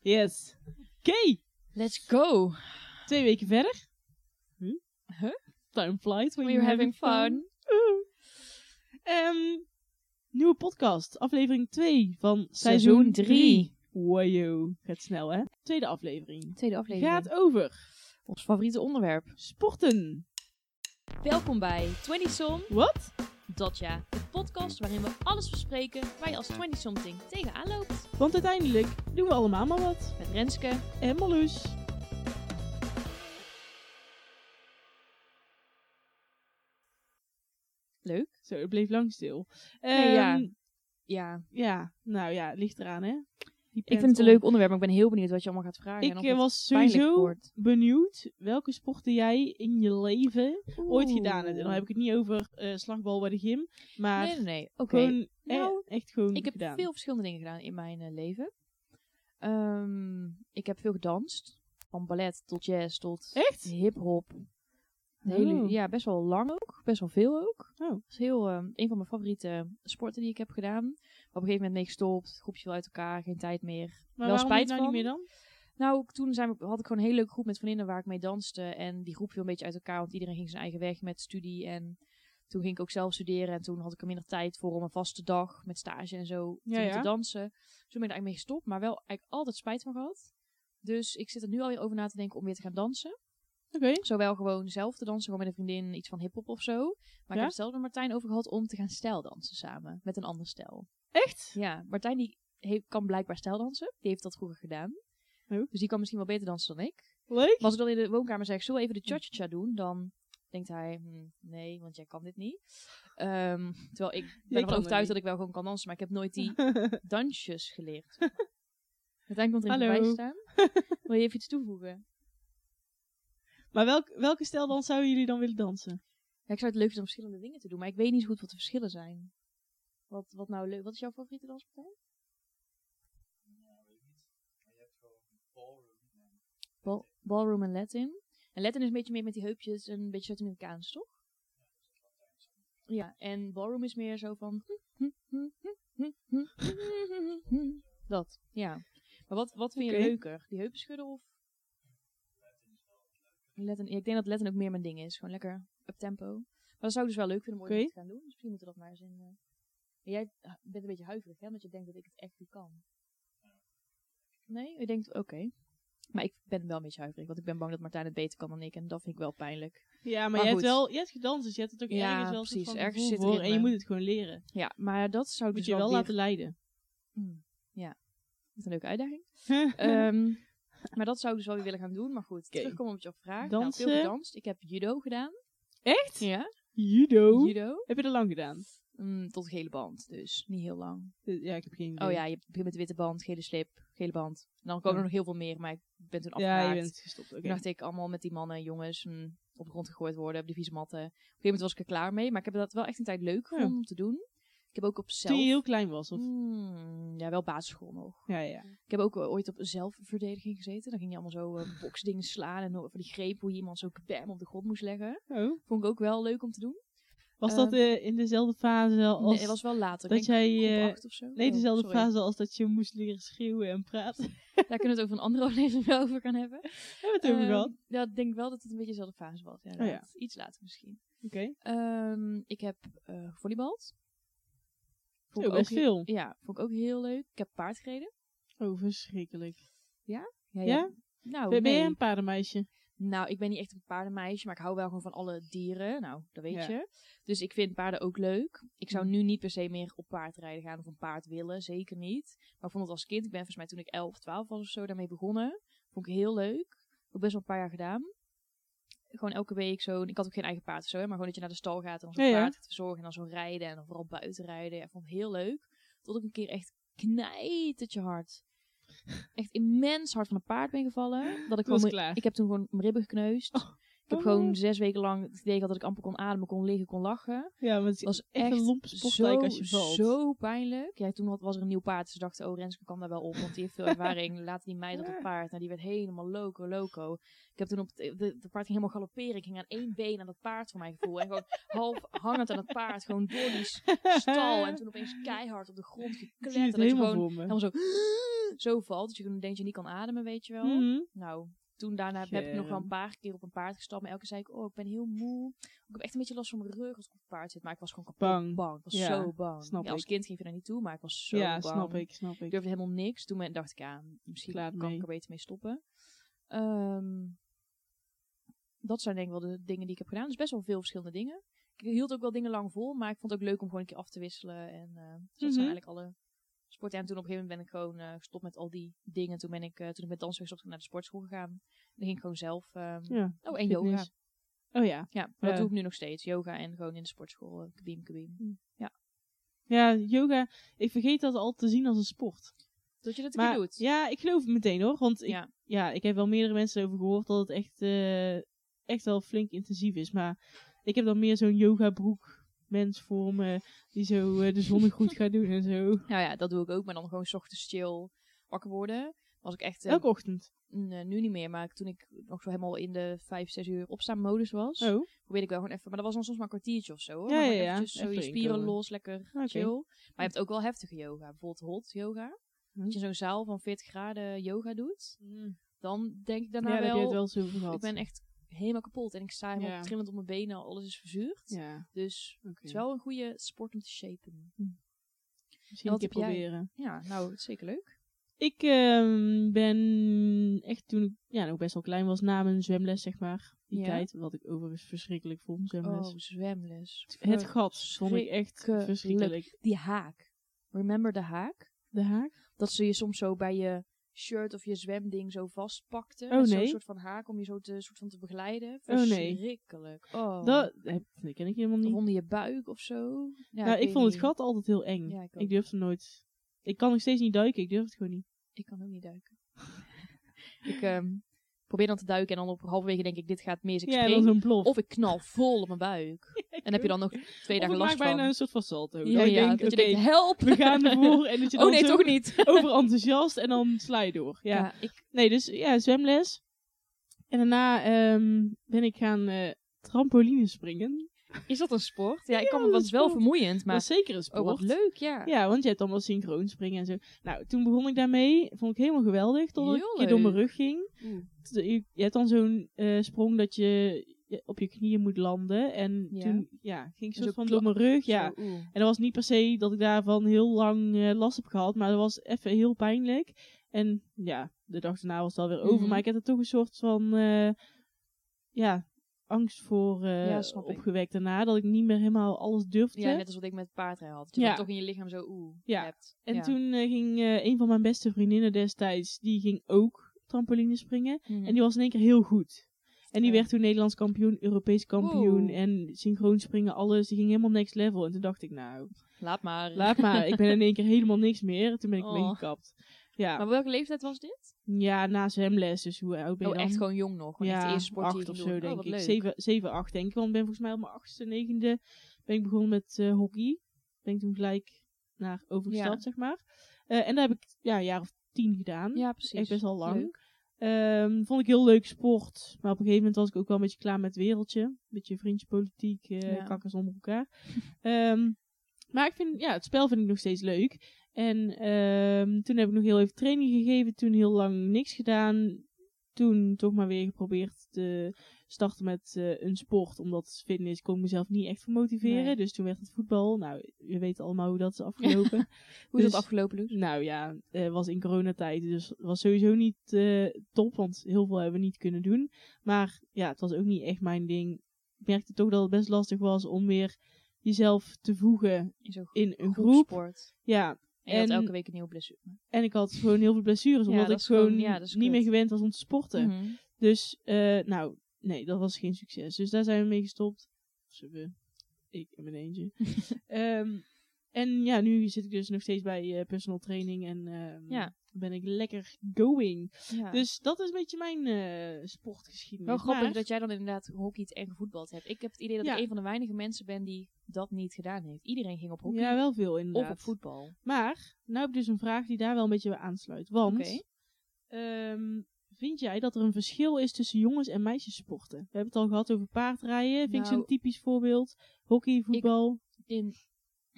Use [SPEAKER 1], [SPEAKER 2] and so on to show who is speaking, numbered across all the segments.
[SPEAKER 1] Yes. Oké,
[SPEAKER 2] Let's go.
[SPEAKER 1] twee weken verder. Huh?
[SPEAKER 2] Huh?
[SPEAKER 1] Time flies when
[SPEAKER 2] We're
[SPEAKER 1] you're
[SPEAKER 2] having
[SPEAKER 1] having
[SPEAKER 2] fun.
[SPEAKER 1] Oeh. Ehm, nieuwe podcast, aflevering 2 van
[SPEAKER 2] Seizoen
[SPEAKER 1] seizoen 3.
[SPEAKER 2] drie.
[SPEAKER 1] Wow, gaat snel hè. Tweede aflevering.
[SPEAKER 2] Tweede aflevering.
[SPEAKER 1] Gaat over
[SPEAKER 2] Ons favoriete onderwerp.
[SPEAKER 1] sporten.
[SPEAKER 2] Welkom bij 20 Som
[SPEAKER 1] Wat?
[SPEAKER 2] Dotja. De podcast waarin we alles bespreken waar je als 20 something tegenaan loopt.
[SPEAKER 1] Want uiteindelijk doen we allemaal maar wat.
[SPEAKER 2] Met Renske.
[SPEAKER 1] En Marloes.
[SPEAKER 2] Leuk.
[SPEAKER 1] Zo, het bleef lang stil.
[SPEAKER 2] Nee, ja.
[SPEAKER 1] Ehm,
[SPEAKER 2] Ja.
[SPEAKER 1] ja, nou ja, het ligt eraan hè. Die
[SPEAKER 2] Ik
[SPEAKER 1] pent
[SPEAKER 2] vind het
[SPEAKER 1] om.
[SPEAKER 2] een leuk onderwerp, maar ik ben heel benieuwd wat je allemaal gaat vragen.
[SPEAKER 1] Ik
[SPEAKER 2] en of
[SPEAKER 1] eh,
[SPEAKER 2] het
[SPEAKER 1] was
[SPEAKER 2] pijnlijk
[SPEAKER 1] sowieso
[SPEAKER 2] wordt.
[SPEAKER 1] benieuwd welke sporten jij in je leven ooit gedaan hebt. En dan heb ik het niet over eh slagbal bij de gym, maar
[SPEAKER 2] Nee, nee, nee. Oké.
[SPEAKER 1] gewoon e-
[SPEAKER 2] Nou,
[SPEAKER 1] echt gewoon
[SPEAKER 2] Ik heb
[SPEAKER 1] gedaan.
[SPEAKER 2] veel verschillende dingen gedaan in mijn eh, leven. Ehm, ik heb veel gedanst. Van ballet tot jazz tot
[SPEAKER 1] Echt?
[SPEAKER 2] hip-hop. De hele-
[SPEAKER 1] Oh.
[SPEAKER 2] Ja, best wel lang ook. Best wel veel ook.
[SPEAKER 1] Oh.
[SPEAKER 2] Dat is heel, ehm, een van mijn favoriete sporten die ik heb gedaan. Maar op een gegeven moment mee gestopt. Groepje viel uit elkaar. Geen tijd meer.
[SPEAKER 1] Maar
[SPEAKER 2] Wel
[SPEAKER 1] waarom
[SPEAKER 2] spijt
[SPEAKER 1] doe je het nou
[SPEAKER 2] van.
[SPEAKER 1] niet meer dan?
[SPEAKER 2] Nou, toen zijn we, had ik gewoon een hele leuke groep met vriendinnen waar ik mee danste. En die groep viel een beetje uit elkaar. Want iedereen ging zijn eigen weg met studie. En toen ging ik ook zelf studeren. En toen had ik er minder tijd voor om een vaste dag met stage en zo
[SPEAKER 1] Ja,
[SPEAKER 2] te
[SPEAKER 1] ja.
[SPEAKER 2] moeten dansen. Dus toen ben ik er eigenlijk mee gestopt. Maar wel eigenlijk altijd spijt van gehad. Dus ik zit er nu alweer over na te denken om weer te gaan dansen.
[SPEAKER 1] Oké.
[SPEAKER 2] Zowel gewoon zelf te dansen, gewoon met een vriendin, iets van hip-hop of zo. Maar ik
[SPEAKER 1] Ja?
[SPEAKER 2] heb het zelf met Martijn over gehad om te gaan stijldansen samen. Met een ander stijl.
[SPEAKER 1] Echt?
[SPEAKER 2] Ja, Martijn die he- kan blijkbaar stijldansen. Die heeft dat vroeger gedaan.
[SPEAKER 1] Oh.
[SPEAKER 2] Dus die kan misschien wel beter dansen dan ik.
[SPEAKER 1] Leuk?
[SPEAKER 2] Maar als ik dan in de woonkamer zeg, zullen we even de cha-cha-cha doen? Dan denkt hij, "Hm, nee, want jij kan dit niet. Ehm, terwijl ik ben
[SPEAKER 1] kan
[SPEAKER 2] ervan
[SPEAKER 1] het
[SPEAKER 2] overtuigd
[SPEAKER 1] niet.
[SPEAKER 2] dat ik wel gewoon kan dansen, maar ik heb nooit die dansjes geleerd. Martijn komt er even
[SPEAKER 1] Hallo.
[SPEAKER 2] bij staan. Wil je even iets toevoegen?
[SPEAKER 1] maar welk, welke stijl dan zouden jullie dan willen dansen?
[SPEAKER 2] Ja, ik zou het leuk vinden om verschillende dingen te doen, maar ik weet niet zo goed wat de verschillen zijn. Wat, wat nou leuk? Wat is jouw favoriete danspartij? Bal- ballroom en Latin. En Latin is een beetje meer met die heupjes en een beetje Zuid-Amerikaans, toch? Ja, en ballroom is meer zo van... hm, Dat, ja. Maar wat, wat vind je
[SPEAKER 1] Oké.
[SPEAKER 2] leuker? Die heupen schudden of... Latin, ja, ik denk dat Latin ook meer mijn ding is. Gewoon lekker up-tempo. Maar dat zou ik dus wel leuk vinden om ooit
[SPEAKER 1] Oké.
[SPEAKER 2] nog te gaan doen. Dus misschien moeten we dat maar eens in... eh, maar Jij eh, bent een beetje huiverig, hè? Want je denkt dat ik het echt niet kan. Nee? Je denkt, oké. Maar ik ben wel een beetje huiverig. Want ik ben bang dat Martijn het beter kan dan ik. En dat vind ik wel pijnlijk.
[SPEAKER 1] Ja, maar,
[SPEAKER 2] Maar
[SPEAKER 1] jij,
[SPEAKER 2] goed.
[SPEAKER 1] hebt wel, jij hebt gedanst, dus je hebt het ook
[SPEAKER 2] Ja,
[SPEAKER 1] ergens wel een soort
[SPEAKER 2] precies.
[SPEAKER 1] van
[SPEAKER 2] Ergens
[SPEAKER 1] gevoel voor
[SPEAKER 2] zit
[SPEAKER 1] En
[SPEAKER 2] ritme.
[SPEAKER 1] je moet het gewoon leren.
[SPEAKER 2] Ja, maar dat zou ik
[SPEAKER 1] moet
[SPEAKER 2] dus
[SPEAKER 1] je wel
[SPEAKER 2] weer-
[SPEAKER 1] laten leiden.
[SPEAKER 2] Mm, ja, dat is een leuke uitdaging. Ehm, maar dat zou ik dus wel weer willen gaan doen. Maar goed,
[SPEAKER 1] Oké.
[SPEAKER 2] terugkomen op jouw vraag. Nou, veel
[SPEAKER 1] Dansen.
[SPEAKER 2] gedanst. Ik heb judo gedaan.
[SPEAKER 1] Echt?
[SPEAKER 2] Ja,
[SPEAKER 1] Judo?
[SPEAKER 2] judo.
[SPEAKER 1] Heb je dat lang gedaan? Eh,
[SPEAKER 2] Mm, tot gele band, dus niet heel lang.
[SPEAKER 1] Ja, ik heb geen idee.
[SPEAKER 2] Oh ja, je begint met de witte band, gele slip, gele band. En dan komen
[SPEAKER 1] Ja.
[SPEAKER 2] er nog heel veel meer, maar ik ben toen afgehaakt.
[SPEAKER 1] Ja, je bent gestopt. Oké.
[SPEAKER 2] Toen dacht ik allemaal met die mannen en jongens mm, op de grond gegooid worden, op die vieze matten. Op een gegeven moment was ik er klaar mee, maar ik heb dat wel echt een tijd leuk gevonden om te doen. Ik heb ook op zelf...
[SPEAKER 1] Toen je heel klein was, of?
[SPEAKER 2] Mm, ja, wel basisschool nog.
[SPEAKER 1] Ja, ja.
[SPEAKER 2] Ik heb ook eh, ooit op zelfverdediging gezeten. Dan ging je allemaal zo eh, boksdingen slaan en over die greep hoe je iemand zo bam op de grond moest leggen.
[SPEAKER 1] Oh.
[SPEAKER 2] Vond ik ook wel leuk om te doen.
[SPEAKER 1] Was
[SPEAKER 2] Eh,
[SPEAKER 1] dat eh, in dezelfde fase als...
[SPEAKER 2] nee, het was wel later.
[SPEAKER 1] dat
[SPEAKER 2] ik denk
[SPEAKER 1] jij,
[SPEAKER 2] groep
[SPEAKER 1] eh,
[SPEAKER 2] acht of zo.
[SPEAKER 1] nee,
[SPEAKER 2] Oh,
[SPEAKER 1] dezelfde
[SPEAKER 2] sorry.
[SPEAKER 1] fase als dat je moest leren schreeuwen en praten. Hebben
[SPEAKER 2] Daar kunnen we het ook van andere aflevering wel over gaan hebben.
[SPEAKER 1] we het over
[SPEAKER 2] Ehm,
[SPEAKER 1] gehad? Oh,
[SPEAKER 2] Ja, ik denk wel dat het een beetje dezelfde fase was. Ja, inderdaad. Iets later misschien.
[SPEAKER 1] Oké.
[SPEAKER 2] Ehm, ik heb eh volleybald.
[SPEAKER 1] Zo,
[SPEAKER 2] ik ook
[SPEAKER 1] best
[SPEAKER 2] heel-
[SPEAKER 1] veel.
[SPEAKER 2] Ja, vond ik ook heel leuk. Ik heb paard gereden.
[SPEAKER 1] Oh, verschrikkelijk.
[SPEAKER 2] jij-
[SPEAKER 1] Ja?
[SPEAKER 2] Nou,
[SPEAKER 1] ben, ben jij
[SPEAKER 2] nee.
[SPEAKER 1] een paardenmeisje?
[SPEAKER 2] Nou, ik ben niet echt een paardenmeisje, maar ik hou wel gewoon van alle dieren. Nou, dat weet
[SPEAKER 1] Ja. Mhm.
[SPEAKER 2] je. Dus ik vind paarden ook leuk. Ik zou nu niet per se meer op paardrijden gaan of een paard willen. Zeker niet. Maar ik vond het als kind, ik ben volgens mij toen ik 11, 12 was of zo daarmee begonnen. Vond ik heel leuk. Ook best wel een paar jaar gedaan. Gewoon elke week zo. Ik had ook geen eigen paard of zo, hè, maar gewoon dat je naar de stal gaat en dan zo'n
[SPEAKER 1] Ja, ja.
[SPEAKER 2] paard gaat verzorgen en dan zo rijden en dan vooral buiten rijden. Ja, vond ik heel leuk. Tot ik een keer echt knijtertje hard. Echt immens hard van een paard ben gevallen. Dat ik
[SPEAKER 1] Toen was
[SPEAKER 2] gewoon
[SPEAKER 1] klaar.
[SPEAKER 2] ik heb toen gewoon mijn ribben gekneusd. Ik heb
[SPEAKER 1] Oh.
[SPEAKER 2] gewoon zes weken lang het idee gehad dat ik amper kon ademen, kon liggen, kon lachen.
[SPEAKER 1] Ja, maar het is
[SPEAKER 2] was
[SPEAKER 1] echt een
[SPEAKER 2] echt
[SPEAKER 1] lomp sportlijk als je valt.
[SPEAKER 2] zo pijnlijk. Ja, toen had- was er een nieuw paard. Ze dachten, oh, Renske kan daar wel op, want die heeft veel ervaring. Laat die meid op het paard. Nou, die werd helemaal loco, loco. Ik heb toen op het eh, de, de paard ging helemaal galopperen. Ik ging aan één been aan dat paard voor mijn gevoel. En gewoon half hangend aan het paard, gewoon door die s- stal. En toen opeens keihard op de
[SPEAKER 1] Ik
[SPEAKER 2] grond gekletterd.
[SPEAKER 1] zie
[SPEAKER 2] En
[SPEAKER 1] het
[SPEAKER 2] dat je
[SPEAKER 1] helemaal
[SPEAKER 2] gewoon
[SPEAKER 1] voor me.
[SPEAKER 2] helemaal zo, zo valt. Dat je gewoon denkt, je niet kan ademen, weet je wel.
[SPEAKER 1] Mhm.
[SPEAKER 2] Nou, toen daarna heb ik nog wel
[SPEAKER 1] Germ.
[SPEAKER 2] een paar keer op een paard gestapt. Maar elke keer zei ik, oh, ik ben heel moe. Ik heb echt een beetje last van mijn rug als ik op het paard zit. Maar ik was gewoon kapot
[SPEAKER 1] Bang.
[SPEAKER 2] bang. Ik was
[SPEAKER 1] Ja,
[SPEAKER 2] zo bang.
[SPEAKER 1] snap
[SPEAKER 2] ja, als
[SPEAKER 1] ik.
[SPEAKER 2] kind ging je daar niet toe, maar ik was zo
[SPEAKER 1] Ja,
[SPEAKER 2] bang.
[SPEAKER 1] snap ik, snap
[SPEAKER 2] Ik
[SPEAKER 1] ik.
[SPEAKER 2] durfde helemaal niks. Toen ben- dacht ik, ja, misschien
[SPEAKER 1] Klaar
[SPEAKER 2] kan
[SPEAKER 1] mee.
[SPEAKER 2] ik er beter mee stoppen. Ehm, dat zijn denk ik wel de dingen die ik heb gedaan. Dus best wel veel verschillende dingen. Ik hield ook wel dingen lang vol, maar ik vond het ook leuk om gewoon een keer af te wisselen. En eh, dus dat
[SPEAKER 1] Mhm.
[SPEAKER 2] zijn eigenlijk alle sporten. En toen op een gegeven moment ben ik gewoon eh, gestopt met al die dingen. Toen ben ik, eh, toen ik met dansen weer stopte, naar de sportschool gegaan. Dan ging ik gewoon zelf. ehm,
[SPEAKER 1] Ja,
[SPEAKER 2] oh, en yoga.
[SPEAKER 1] fitness. Oh ja.
[SPEAKER 2] Ja, maar
[SPEAKER 1] Ja.
[SPEAKER 2] dat doe ik nu nog steeds. Yoga en gewoon in de sportschool. eh, kabiem, kabiem.
[SPEAKER 1] Ja, yoga. Ik vergeet dat al te zien als een sport.
[SPEAKER 2] Dat je dat een
[SPEAKER 1] Maar
[SPEAKER 2] keer doet.
[SPEAKER 1] ja, ik geloof het meteen hoor. Want ik, ja.
[SPEAKER 2] Ja.
[SPEAKER 1] ik heb wel meerdere mensen over gehoord dat het echt, eh, echt wel flink intensief is. Maar ik heb dan meer zo'n yoga broek mens voor me die zo eh, de zonnegroet gaat doen en zo.
[SPEAKER 2] Nou ja, dat doe ik ook. Maar dan gewoon 's ochtends chill wakker worden. Was ik echt eh,
[SPEAKER 1] Elke ochtend.
[SPEAKER 2] Nee, nu niet meer, maar toen ik nog zo helemaal in de 5, 6 uur opstaan-modus was,
[SPEAKER 1] Oh,
[SPEAKER 2] probeerde ik wel gewoon even. Maar dat was dan soms maar een kwartiertje of zo. Hoor.
[SPEAKER 1] Ja,
[SPEAKER 2] maar
[SPEAKER 1] ja,
[SPEAKER 2] gewoon
[SPEAKER 1] ja.
[SPEAKER 2] eventjes zo
[SPEAKER 1] Even
[SPEAKER 2] je spieren
[SPEAKER 1] inkomen.
[SPEAKER 2] los, lekker
[SPEAKER 1] oké.
[SPEAKER 2] chill. Maar je hebt ook wel heftige yoga, bijvoorbeeld hot yoga.
[SPEAKER 1] Mhm.
[SPEAKER 2] Als je in zo'n zaal van 40 graden yoga doet,
[SPEAKER 1] Mm.
[SPEAKER 2] dan denk ik
[SPEAKER 1] Ja,
[SPEAKER 2] daarna
[SPEAKER 1] daar heb je het
[SPEAKER 2] wel,
[SPEAKER 1] wel eens over gehad.
[SPEAKER 2] ik ben echt helemaal kapot en ik sta helemaal
[SPEAKER 1] Ja.
[SPEAKER 2] trillend op mijn benen, alles is verzuurd.
[SPEAKER 1] Ja,
[SPEAKER 2] Dus
[SPEAKER 1] oké.
[SPEAKER 2] het is wel een goede sport om te shapen.
[SPEAKER 1] Misschien een
[SPEAKER 2] wat
[SPEAKER 1] keer
[SPEAKER 2] heb jij?
[SPEAKER 1] proberen.
[SPEAKER 2] Ja, nou, het is zeker leuk.
[SPEAKER 1] Ik ehm, ben echt toen ik ja, nog best wel klein was na mijn zwemles, zeg maar. Die
[SPEAKER 2] Ja.
[SPEAKER 1] tijd. Wat ik overigens verschrikkelijk vond, zwemles.
[SPEAKER 2] Oh, zwemles.
[SPEAKER 1] het gat vond ik echt
[SPEAKER 2] verschrikkelijk.
[SPEAKER 1] verschrikkelijk.
[SPEAKER 2] Die haak. Remember de haak?
[SPEAKER 1] De haak?
[SPEAKER 2] Dat ze je soms zo bij je shirt of je zwemding zo vastpakte.
[SPEAKER 1] Oh,
[SPEAKER 2] met
[SPEAKER 1] nee.
[SPEAKER 2] Zo'n soort van haak om je zo te, soort van te begeleiden.
[SPEAKER 1] Oh, nee.
[SPEAKER 2] Verschrikkelijk. Oh,
[SPEAKER 1] Dat, heb, dat ken ik helemaal
[SPEAKER 2] Of
[SPEAKER 1] niet.
[SPEAKER 2] onder je buik of zo. Ja,
[SPEAKER 1] nou, ik
[SPEAKER 2] weet
[SPEAKER 1] vond het
[SPEAKER 2] niet.
[SPEAKER 1] gat altijd heel eng.
[SPEAKER 2] Ja, ik
[SPEAKER 1] ik
[SPEAKER 2] ook.
[SPEAKER 1] durfde nooit. Ik kan nog steeds niet duiken, ik durf het gewoon niet.
[SPEAKER 2] Ik kan ook niet duiken. ik ehm, probeer dan te duiken en dan op halverwege denk ik, dit gaat mis. Ik
[SPEAKER 1] Ja, dan
[SPEAKER 2] spring.
[SPEAKER 1] zo'n plof.
[SPEAKER 2] Of ik knal vol op mijn buik. en heb je dan nog twee
[SPEAKER 1] Of
[SPEAKER 2] dagen
[SPEAKER 1] ik maak
[SPEAKER 2] last
[SPEAKER 1] bijna
[SPEAKER 2] van.
[SPEAKER 1] een soort van salto.
[SPEAKER 2] ja,
[SPEAKER 1] dat ik
[SPEAKER 2] ja,
[SPEAKER 1] denk,
[SPEAKER 2] dat
[SPEAKER 1] oké,
[SPEAKER 2] je denkt, help!
[SPEAKER 1] we gaan ervoor. En dat je dan
[SPEAKER 2] oh nee,
[SPEAKER 1] zo
[SPEAKER 2] toch niet!
[SPEAKER 1] overenthousiast en dan sla je door. ja.
[SPEAKER 2] ik,
[SPEAKER 1] Nee, dus ja, zwemles. En daarna ehm, ben ik gaan eh trampoline springen.
[SPEAKER 2] is dat een sport? Ja, ik kan me,
[SPEAKER 1] dat
[SPEAKER 2] want
[SPEAKER 1] is
[SPEAKER 2] het is wel
[SPEAKER 1] sport.
[SPEAKER 2] vermoeiend,
[SPEAKER 1] Maar
[SPEAKER 2] maar...
[SPEAKER 1] zeker een sport.
[SPEAKER 2] Oh, wat leuk, ja.
[SPEAKER 1] Ja, want je hebt allemaal synchroon springen en zo. Nou, toen begon ik daarmee. Vond ik helemaal geweldig. Totdat ik
[SPEAKER 2] Heel
[SPEAKER 1] een keer door mijn
[SPEAKER 2] leuk.
[SPEAKER 1] rug ging.
[SPEAKER 2] Oeh.
[SPEAKER 1] T- Je, je hebt dan zo'n eh, sprong dat je je op je knieën moet landen. En
[SPEAKER 2] Ja.
[SPEAKER 1] toen ja, ging ik
[SPEAKER 2] Zo
[SPEAKER 1] soort van
[SPEAKER 2] kla-
[SPEAKER 1] door mijn rug. Ja.
[SPEAKER 2] Zo, oeh.
[SPEAKER 1] En dat was niet per se dat ik daarvan heel lang eh, last heb gehad. Maar dat was even heel pijnlijk. En ja, de dag daarna was het alweer over.
[SPEAKER 2] Mhm.
[SPEAKER 1] Maar ik heb er toch een soort van eh, ja, angst voor eh,
[SPEAKER 2] Ja, snap ik.
[SPEAKER 1] opgewekt daarna. Dat ik niet meer helemaal alles durfde.
[SPEAKER 2] Ja, net als wat ik met paardrijden had. Dat je
[SPEAKER 1] Ja.
[SPEAKER 2] dan toch in je lichaam zo oeh
[SPEAKER 1] Ja.
[SPEAKER 2] hebt.
[SPEAKER 1] en
[SPEAKER 2] Ja.
[SPEAKER 1] toen eh, ging eh, een van mijn beste vriendinnen destijds, die ging ook trampoline springen.
[SPEAKER 2] Mhm.
[SPEAKER 1] En die was in één keer heel goed. En die
[SPEAKER 2] Ja.
[SPEAKER 1] werd toen Nederlands kampioen, Europees kampioen
[SPEAKER 2] Wow.
[SPEAKER 1] en synchroon springen, alles. Die ging helemaal next level. En toen dacht ik, nou,
[SPEAKER 2] Laat maar.
[SPEAKER 1] Laat maar, ik ben in één keer helemaal niks meer. Toen ben ik
[SPEAKER 2] Oh.
[SPEAKER 1] meegekapt. gekapt. Ja.
[SPEAKER 2] Maar welke leeftijd was dit?
[SPEAKER 1] ja, na zwemles, dus hoe oud ben je
[SPEAKER 2] Oh,
[SPEAKER 1] dan?
[SPEAKER 2] echt gewoon jong nog. Gewoon
[SPEAKER 1] ja,
[SPEAKER 2] echt de eerste sport die
[SPEAKER 1] acht
[SPEAKER 2] je
[SPEAKER 1] of
[SPEAKER 2] ging
[SPEAKER 1] zo
[SPEAKER 2] doen. Oh,
[SPEAKER 1] denk
[SPEAKER 2] wat
[SPEAKER 1] ik.
[SPEAKER 2] leuk.
[SPEAKER 1] Zeven, zeven, acht denk ik. Want ik ben volgens mij op mijn achtste, negende ben ik begonnen met eh, hockey. Ben ik toen gelijk naar overgestapt,
[SPEAKER 2] Ja.
[SPEAKER 1] zeg maar. Eh, en daar heb ik ja, een jaar of tien gedaan.
[SPEAKER 2] Ja, precies.
[SPEAKER 1] Echt best wel lang.
[SPEAKER 2] Leuk.
[SPEAKER 1] Ehm, vond ik heel leuk sport. Maar op een gegeven moment was ik ook wel een beetje klaar met het wereldje. Een beetje vriendjespolitiek, eh
[SPEAKER 2] Ja.
[SPEAKER 1] kakkers onder elkaar. Ehm, maar ik vind, ja, het spel vind ik nog steeds leuk. En ehm, toen heb ik nog heel even training gegeven. Toen heel lang niks gedaan. Toen toch maar weer geprobeerd te starten met eh, een sport. Omdat fitness kon ik mezelf niet echt voor motiveren.
[SPEAKER 2] Nee.
[SPEAKER 1] Dus toen werd het voetbal. Nou, je weet allemaal hoe dat is afgelopen.
[SPEAKER 2] Hoe is
[SPEAKER 1] Dus-
[SPEAKER 2] dat afgelopen, Luus?
[SPEAKER 1] Nou ja, eh was in coronatijd, dus was sowieso niet eh, top, want heel veel hebben we niet kunnen doen. Maar ja, het was ook niet echt mijn ding. Ik merkte toch dat het best lastig was om weer jezelf te voegen
[SPEAKER 2] In zo'n
[SPEAKER 1] in een groep.
[SPEAKER 2] groepsport.
[SPEAKER 1] Ja,
[SPEAKER 2] En je had
[SPEAKER 1] En-
[SPEAKER 2] elke week een nieuwe blessure.
[SPEAKER 1] en ik had gewoon heel veel blessures,
[SPEAKER 2] Ja,
[SPEAKER 1] omdat
[SPEAKER 2] dat
[SPEAKER 1] ik
[SPEAKER 2] is gewoon-
[SPEAKER 1] gewoon
[SPEAKER 2] ja, dat is
[SPEAKER 1] niet
[SPEAKER 2] kut.
[SPEAKER 1] meer gewend was om te sporten.
[SPEAKER 2] Mhm.
[SPEAKER 1] Dus, eh, nou, nee, dat was geen succes. Dus daar zijn we mee gestopt. Ze we. Ik en mijn eentje. Ehm, En ja, nu zit ik dus nog steeds bij eh, personal training en ehm,
[SPEAKER 2] Ja.
[SPEAKER 1] ben ik lekker going.
[SPEAKER 2] Ja.
[SPEAKER 1] Dus dat is een beetje mijn eh, sportgeschiedenis.
[SPEAKER 2] Wel grappig
[SPEAKER 1] Maar-
[SPEAKER 2] dat jij dan inderdaad hockeyt en gevoetbald hebt. Ik heb het idee dat
[SPEAKER 1] Ja.
[SPEAKER 2] ik een van de weinige mensen ben die dat niet gedaan heeft. Iedereen ging op hockey
[SPEAKER 1] Ja, wel veel inderdaad.
[SPEAKER 2] of op voetbal.
[SPEAKER 1] Maar, nou heb ik dus een vraag die daar wel een beetje bij aansluit. Want,
[SPEAKER 2] Oké.
[SPEAKER 1] ehm, vind jij dat er een verschil is tussen jongens- en meisjessporten? We hebben het al gehad over paardrijden. Vind ik
[SPEAKER 2] Nou-
[SPEAKER 1] zo'n typisch voorbeeld. Hockey, voetbal,
[SPEAKER 2] In,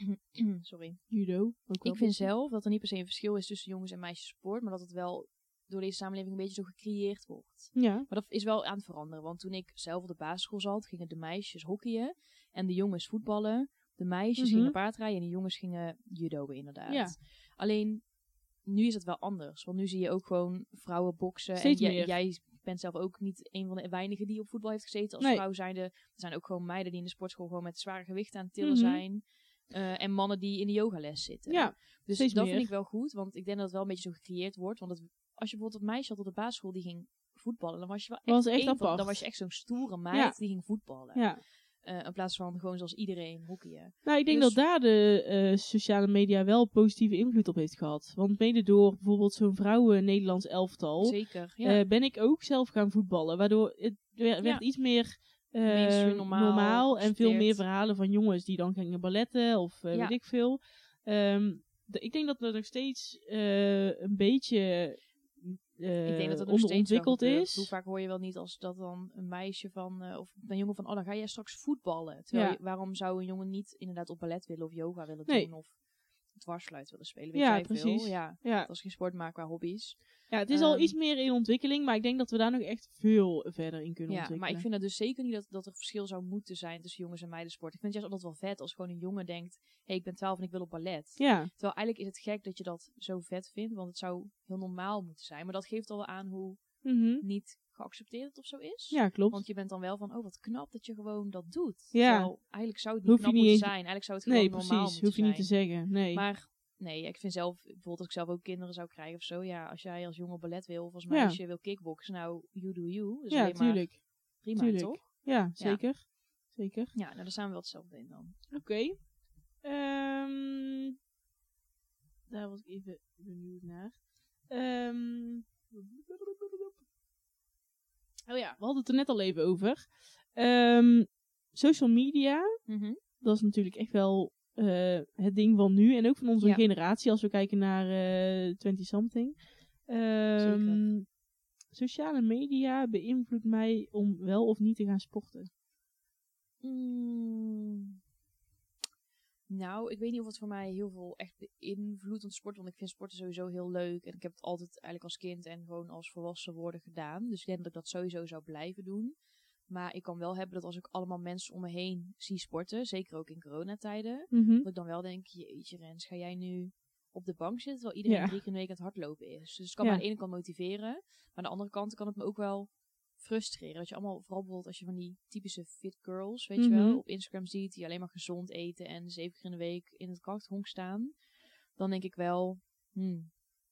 [SPEAKER 2] sorry.
[SPEAKER 1] judo. Ook wel
[SPEAKER 2] Ik vind zelf dat er niet per se een verschil is tussen jongens en meisjes sport, maar dat het wel door deze samenleving een beetje zo gecreëerd wordt.
[SPEAKER 1] Ja,
[SPEAKER 2] Maar dat is wel aan het veranderen, want toen ik zelf op de basisschool zat, gingen de meisjes hockeyen en de jongens voetballen. De meisjes
[SPEAKER 1] Mhm.
[SPEAKER 2] gingen paardrijden en de jongens gingen judoën inderdaad.
[SPEAKER 1] Ja.
[SPEAKER 2] Alleen, nu is het wel anders, want nu zie je ook gewoon vrouwen boksen.
[SPEAKER 1] Steeds
[SPEAKER 2] en jij-
[SPEAKER 1] meer.
[SPEAKER 2] jij bent zelf ook niet een van de weinigen die op voetbal heeft gezeten als
[SPEAKER 1] Nee.
[SPEAKER 2] vrouw zijnde. Er zijn ook gewoon meiden die in de sportschool gewoon met zware gewichten aan het tillen
[SPEAKER 1] Mhm.
[SPEAKER 2] zijn. Eh, en mannen die in de yogales zitten.
[SPEAKER 1] ja,
[SPEAKER 2] Dus
[SPEAKER 1] Steeds
[SPEAKER 2] dat
[SPEAKER 1] meer.
[SPEAKER 2] vind ik wel goed, want ik denk dat het wel een beetje zo gecreëerd wordt. Want het- als je bijvoorbeeld een meisje had op de basisschool die ging voetballen, dan was je wel
[SPEAKER 1] Was
[SPEAKER 2] echt,
[SPEAKER 1] echt
[SPEAKER 2] één van-
[SPEAKER 1] apart.
[SPEAKER 2] dan was je echt zo'n stoere meid
[SPEAKER 1] Ja.
[SPEAKER 2] die ging voetballen.
[SPEAKER 1] ja.
[SPEAKER 2] Eh, in plaats van gewoon zoals iedereen hockeyen.
[SPEAKER 1] Nou, ik denk
[SPEAKER 2] Dus-
[SPEAKER 1] dat daar de eh, sociale media wel positieve invloed op heeft gehad. Want mede door bijvoorbeeld zo'n vrouwen-Nederlands elftal...
[SPEAKER 2] Zeker, ja.
[SPEAKER 1] eh, ben ik ook zelf gaan voetballen. Waardoor het wer- werd iets meer eh,
[SPEAKER 2] Mainstream,
[SPEAKER 1] normaal,
[SPEAKER 2] normaal,
[SPEAKER 1] en veel meer
[SPEAKER 2] geaccepteerd.
[SPEAKER 1] verhalen van jongens die dan gingen balletten of eh,
[SPEAKER 2] Ja.
[SPEAKER 1] weet ik veel. Ehm, d- ik denk dat dat nog steeds eh, een beetje eh
[SPEAKER 2] ik denk dat dat nog steeds wel
[SPEAKER 1] onderontwikkeld
[SPEAKER 2] gebeurt.
[SPEAKER 1] is.
[SPEAKER 2] Hoe vaak hoor je wel niet als dat dan een meisje van, eh, of een jongen van, oh dan ga jij straks voetballen. Terwijl
[SPEAKER 1] Ja.
[SPEAKER 2] je- waarom zou een jongen niet inderdaad op ballet willen of yoga willen
[SPEAKER 1] Nee.
[SPEAKER 2] doen of dwarsfluit willen spelen, weet
[SPEAKER 1] Ja,
[SPEAKER 2] jij veel.
[SPEAKER 1] precies.
[SPEAKER 2] Ja,
[SPEAKER 1] Ja.
[SPEAKER 2] dat is geen sport, maar qua hobby's.
[SPEAKER 1] ja, het is al
[SPEAKER 2] Ehm,
[SPEAKER 1] iets meer in ontwikkeling, maar ik denk dat we daar nog echt veel verder in kunnen
[SPEAKER 2] Ja,
[SPEAKER 1] ontwikkelen.
[SPEAKER 2] maar ik vind dat dus zeker niet dat, dat er verschil zou moeten zijn tussen jongens en meidensport. Ik vind het juist altijd wel vet als gewoon een jongen denkt, hé, hey, ik ben 12 en ik wil op ballet.
[SPEAKER 1] Ja,
[SPEAKER 2] Terwijl eigenlijk is het gek dat je dat zo vet vindt, want het zou heel normaal moeten zijn. Maar dat geeft al wel aan hoe
[SPEAKER 1] mhm.
[SPEAKER 2] niet geaccepteerd het of zo is.
[SPEAKER 1] ja klopt.
[SPEAKER 2] Want je bent dan wel van, oh, wat knap dat je gewoon dat doet.
[SPEAKER 1] Ja.
[SPEAKER 2] Terwijl eigenlijk zou het niet
[SPEAKER 1] Hoef je
[SPEAKER 2] knap
[SPEAKER 1] niet
[SPEAKER 2] moeten
[SPEAKER 1] eens-
[SPEAKER 2] zijn. Eigenlijk zou het gewoon
[SPEAKER 1] nee,
[SPEAKER 2] normaal
[SPEAKER 1] precies.
[SPEAKER 2] moeten
[SPEAKER 1] Hoef je niet te
[SPEAKER 2] zijn.
[SPEAKER 1] zeggen. Nee.
[SPEAKER 2] Maar nee, ik vind zelf, bijvoorbeeld als ik zelf ook kinderen zou krijgen of zo. Ja, als jij als jongen ballet wil of als
[SPEAKER 1] Ja.
[SPEAKER 2] meisje wil kickboksen, nou, you do you. Dus
[SPEAKER 1] ja,
[SPEAKER 2] alleen maar
[SPEAKER 1] tuurlijk.
[SPEAKER 2] prima,
[SPEAKER 1] tuurlijk.
[SPEAKER 2] toch?
[SPEAKER 1] Ja, zeker. Zeker.
[SPEAKER 2] Ja, nou, daar zijn we wel hetzelfde in dan.
[SPEAKER 1] Oké. Ehm, daar was ik even benieuwd naar. Ehm, oh ja, we hadden het er net al even over. Ehm, social media, dat is natuurlijk echt wel eh, het ding van nu. En ook van onze
[SPEAKER 2] Ja.
[SPEAKER 1] generatie, als we kijken naar eh 20-something. Ehm,
[SPEAKER 2] Zeker.
[SPEAKER 1] sociale media beïnvloedt mij om wel of niet te gaan sporten.
[SPEAKER 2] Mm. Nou, ik weet niet of het voor mij heel veel echt beïnvloedt aan sport. Want ik vind sporten sowieso heel leuk. En ik heb het altijd eigenlijk als kind en gewoon als volwassen worden gedaan. Dus ik denk dat ik dat sowieso zou blijven doen. Maar ik kan wel hebben dat als ik allemaal mensen om me heen zie sporten, zeker ook in coronatijden, dat ik dan wel denk, jeetje Rens, ga jij nu op de bank zitten terwijl iedereen
[SPEAKER 1] Ja.
[SPEAKER 2] drie keer in de week aan het hardlopen is. Dus het kan
[SPEAKER 1] Ja.
[SPEAKER 2] me aan de ene kant motiveren, maar aan de andere kant kan het me ook wel frustreren. Dat je allemaal, vooral bijvoorbeeld als je van die typische fit girls, weet je
[SPEAKER 1] Mhm.
[SPEAKER 2] wel, op Instagram ziet, die alleen maar gezond eten en zeven keer in de week in het krachthonk staan, dan denk ik wel, hmm,